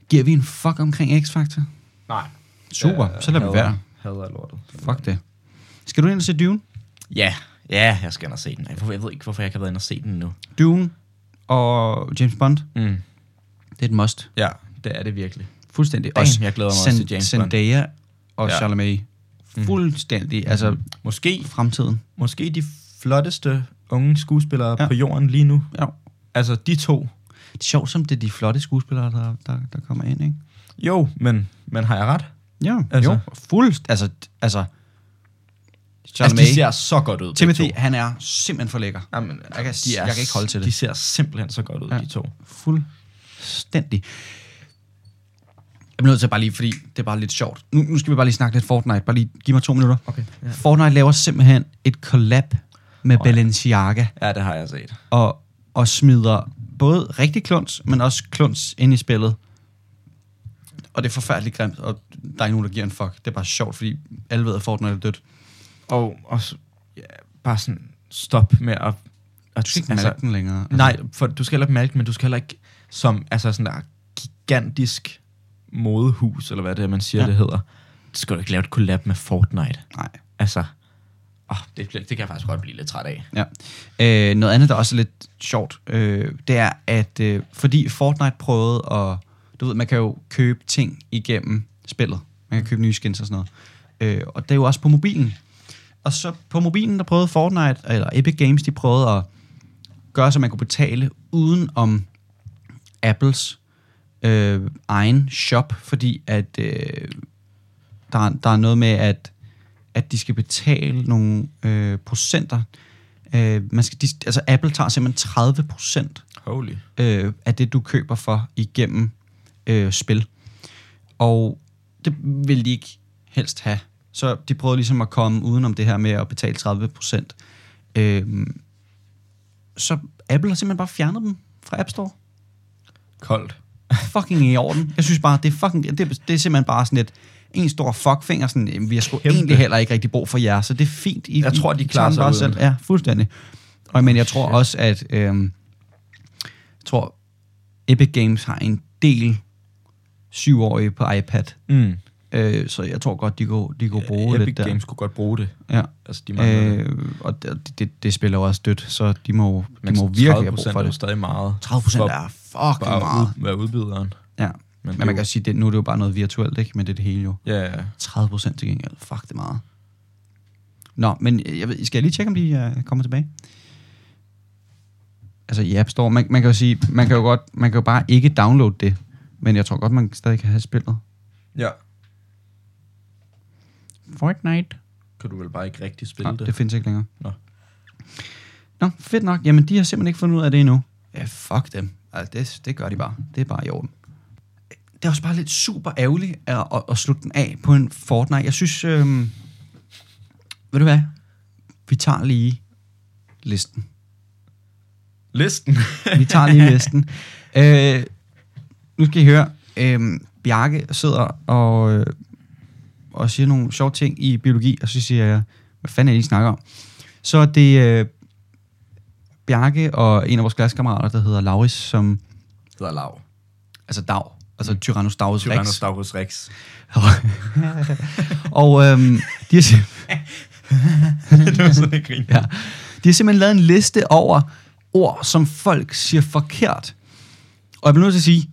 Giver vi en fuck omkring X-Factor?
Nej. Øh,
Super, så lader vi være.
Hader er lortet.
Fuck det. Skal du ind og se Dune?
Ja, ja, jeg skal ind og se den. Jeg, jeg ved ikke, hvorfor jeg ikke har været ind og se den nu.
Dune og James Bond.
Mm.
Det er et must.
Ja, det er det virkelig.
Fuldstændig.
Damn,
Også
jeg glæder mig også til James Bond.
Zendaya og
Ja. Mhm.
ja. Chalamet. Fuldstændig. Altså
Måske,
fremtiden.
måske de flotteste unge skuespillere ja.
Ja.
på jorden lige nu.
Ja.
Altså, de to.
Det er sjovt, som det er de flotte skuespillere, der, der, der kommer ind, ikke?
Jo, men, men har jeg ret?
Ja,
Altså.
altså. jo. Fuldst, altså, altså,
Altså,
Chalamet,
de
altså,
ser så godt ud,
Timothy,
de to.
han er simpelthen for lækker.
Jamen,
Jeg kan- jeg kan ikke holde til det.
De ser simpelthen så godt ud, ja.
Ja.
de to.
Fuldstændig. Jeg bliver nødt til bare lige, fordi det er bare lidt sjovt. Nu, nu skal vi bare lige snakke lidt Fortnite. Bare lige, giv mig to minutter.
Okay, ja.
Ja. Fortnite laver simpelthen et collab med
Åh, ja.
Balenciaga
Ja, det har jeg set.
og, og smider både rigtig kluns, men også kluns ind i spillet. Og det er forfærdeligt grimt, og der er ikke nogen, der giver en fuck. Det er bare sjovt, fordi alle ved, at Fortnite er dødt.
Og også ja, bare sådan stop med at... at
Du skal ikke altså, den længere. Altså.
Nej, for du skal heller ikke mælke, men du skal heller ikke som altså sådan der gigantisk modehus, eller hvad det er, man siger, ja.
Ja.
det hedder. Så skal du ikke lave et collab med Fortnite.
Nej.
Altså, oh, det, det kan jeg faktisk godt blive lidt træt af.
Ja. Øh, noget andet, der også er lidt sjovt, øh, det er, at øh, fordi Fortnite prøvede at... Du ved, man kan jo købe ting igennem spillet. Man kan købe nye skins og sådan noget. Øh, og det er jo også på mobilen. Og så på mobilen, der prøvede Fortnite, eller Epic Games, de prøvede at gøre, så man kunne betale uden om Apples øh, egen shop, fordi at øh, der, er- der er noget med, at, at de skal betale nogle øh, procenter. Øh, man skal, de, altså Apple tager simpelthen 30 procent
Holy.
øh, af det, du køber for igennem øh, spil. Og det ville de ikke helst have. Så de prøvede ligesom at komme udenom det her med at betale 30 procent. Øhm, så Apple har simpelthen bare fjernet dem fra App Store.
Koldt.
Fucking i orden. Jeg synes bare, det er, fucking, det, er- det er simpelthen bare sådan et en stor fuckfinger, sådan, "Jamen, vi har sgu
Kæmpe.
egentlig heller ikke rigtig brug for jer, så det er fint. I,
Jeg tror, de
I
klarer
tager den
sig
bare
uden.
Ja, fuldstændig. Og, men jeg tror også, at øhm, jeg tror, Epic Games har en del syvårige på iPad,
Mm.
øh, så jeg tror godt, de kunne, de kunne bruge
Epic
lidt der.
Games kunne godt bruge det.
Ja.
Altså, de mangler øh, det.
Øh, og det, det, det spiller jo også dødt, så de må, jo- de må virkelig have brug for
er jo
det.
stadig meget.
30 procent
For-
er fucking
Bare
meget.
ud, være udbyderen.
Ja.
Men,
Men man kan sige, det, nu er det jo bare noget virtuelt, ikke? Men det er det hele jo.
Ja, ja.
30 procent til gengæld. Fuck, det er meget. Nå, men øh, jeg ved, skal jeg lige tjekke, om de uh, kommer tilbage? Altså i App Store, man, man kan jo sige, man kan jo godt, man kan jo bare ikke downloade det, men jeg tror godt, man stadig kan have spillet.
ja.
Fortnite.
Kan du vel bare ikke rigtig spille
Nej,
det?
det findes ikke længere.
Nå.
Nå, fedt nok. Jamen, de har simpelthen ikke fundet ud af det endnu. Ja, fuck dem. Altså, det, det gør de bare. Det er bare i orden. Det er også bare lidt super ærgerligt at, at, at slutte den af på en Fortnite. Jeg synes, øhm, ved du hvad? Vi tager lige listen.
Listen.
Vi tager lige listen. Øh, nu skal I høre. Øh, Bjarke sidder og, øh, og siger nogle sjove ting i biologi, og så siger jeg, hvad fanden er det, I snakker om? Så er det øh, Bjarke og en af vores klassekammerater, der hedder Lauris, som,
hedder Lav.
altså Dag, altså Tyrannosaurus Rex.
Tyrannosaurus Rex.
og øhm, de, har, sim-
det var sådan, jeg griner.
ja, de har simpelthen lavet en liste over ord, som folk siger forkert. Og jeg bliver nødt til at sige,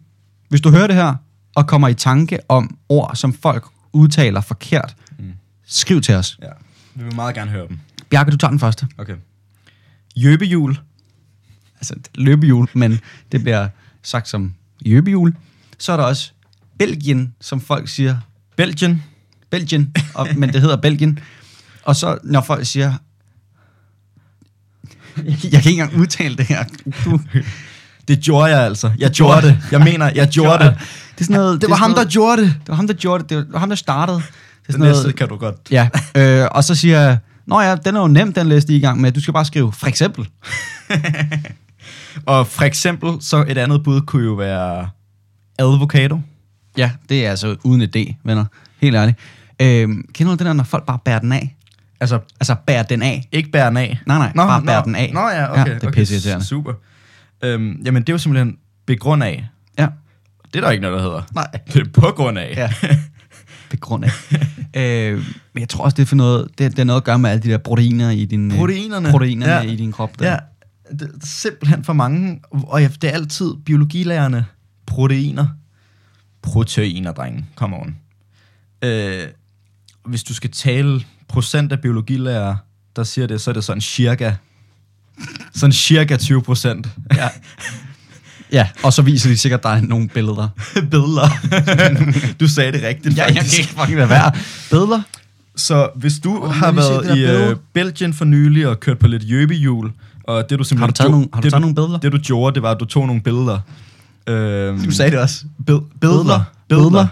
hvis du hører det her, og kommer i tanke om ord, som folk udtaler forkert, mm. skriv til os.
Ja. Vi vil meget gerne høre dem.
Bjarke, du tager den første.
Okay.
Jøbehjul. Altså det er løbehjul, men det bliver sagt som jøbehjul. Så er der også Belgien, som folk siger
Belgien.
Belgien, og, men det hedder Belgien. Og så, når folk siger... Jeg kan ikke engang udtale det her. Du,
Det gjorde jeg altså. Jeg gjorde det. Jeg mener, jeg gjorde det.
det er sådan noget,
Det var
er sådan
ham, der
noget-
gjorde det.
Det var ham, der gjorde det. Det var ham, der startede. Det er
Den
sådan
næste
noget,
kan du godt.
ja, øh, og så siger jeg, Nå ja, den er jo nem, den liste I er i gang med. Du skal bare skrive, for eksempel.
Og for eksempel, så et andet bud kunne jo være advocado.
Ja, det er altså uden idé, venner. Helt ærligt. Øh, kender du den der, når folk bare bærer den af?
Altså,
Altså, bærer den af.
ikke bære den af.
Nej, nej, bare bærer den af.
Nå ja, okay.
Ja, det er
okay,
pisseirriterende.
Super. Øhm, jamen, det er jo simpelthen begrund af.
Ja,
Det er der ikke noget, der hedder.
Nej.
Det er på grund af.
Ja. på grund af. øh, men jeg tror også, det er, for noget, det, det er noget at gøre med alle de der proteiner i din, øh,
Proteinerne.
proteinerne
Ja.
ja. i din krop. Der.
Ja, det er simpelthen for mange. Og ja, det er altid biologilærerne. Proteiner. Proteiner, drenge. Come on. Øh, hvis du skal tale procent af biologilærer, der siger det, så er det sådan cirka... Sådan cirka 20 procent. Ja.
ja. Og så viser de sikkert dig nogle billeder.
Bedler. du sagde det rigtigt, faktisk.
fucking lade være. Billeder?
Så hvis du oh,
Åh,
har
må jeg lige se
været
det der
i øh,
billede?
Belgien for nylig og kørt på lidt jøbehjul, og det du simpelthen...
Har du taget
gjo-
nogle- har du
det,
taget nogle billeder?
Det du gjorde, det var, at du tog nogle billeder. Øhm,
Du sagde det også.
Bed, bedler.
Billeder.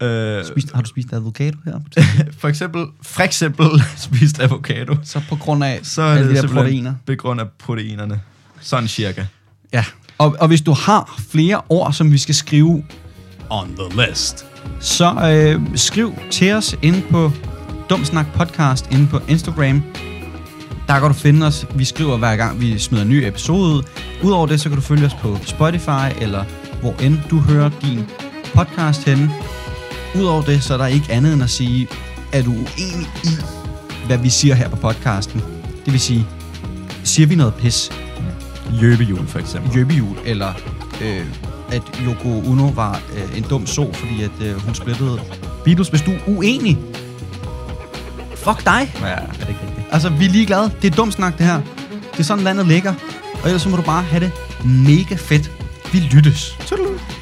Bedler. Øh,
Spist, har du spist avocado her?
for eksempel, for eksempel spist avocado.
Så på grund af
Så er
alle
det
de der
simpelthen
proteiner.
på grund af proteinerne. Sådan cirka.
Ja. Og, og hvis du har flere ord, som vi skal skrive
On the list.
så øh, skriv til os inde på Dumsnak Podcast inde på Instagram. Der kan du finde os. Vi skriver hver gang, vi smider en ny episode ud. Udover det, så kan du følge os på Spotify, eller hvor end du hører din podcast henne. Udover det, så er der ikke andet end at sige, er du uenig i, hvad vi siger her på podcasten? Det vil sige, siger vi noget pis?
Jøbehjul for eksempel.
Jøbehjul, eller øh, at Yoko Ono var øh, en dum so, fordi at øh, hun splittede Beatles. Hvis du er uenig, fuck dig.
Ja, er det ikke rigtigt?
Altså, vi er ligeglade. Det er dumt snak, det her. Det er sådan, landet ligger. Og ellers så må du bare have det mega fedt. Vi lyttes. Tudelu.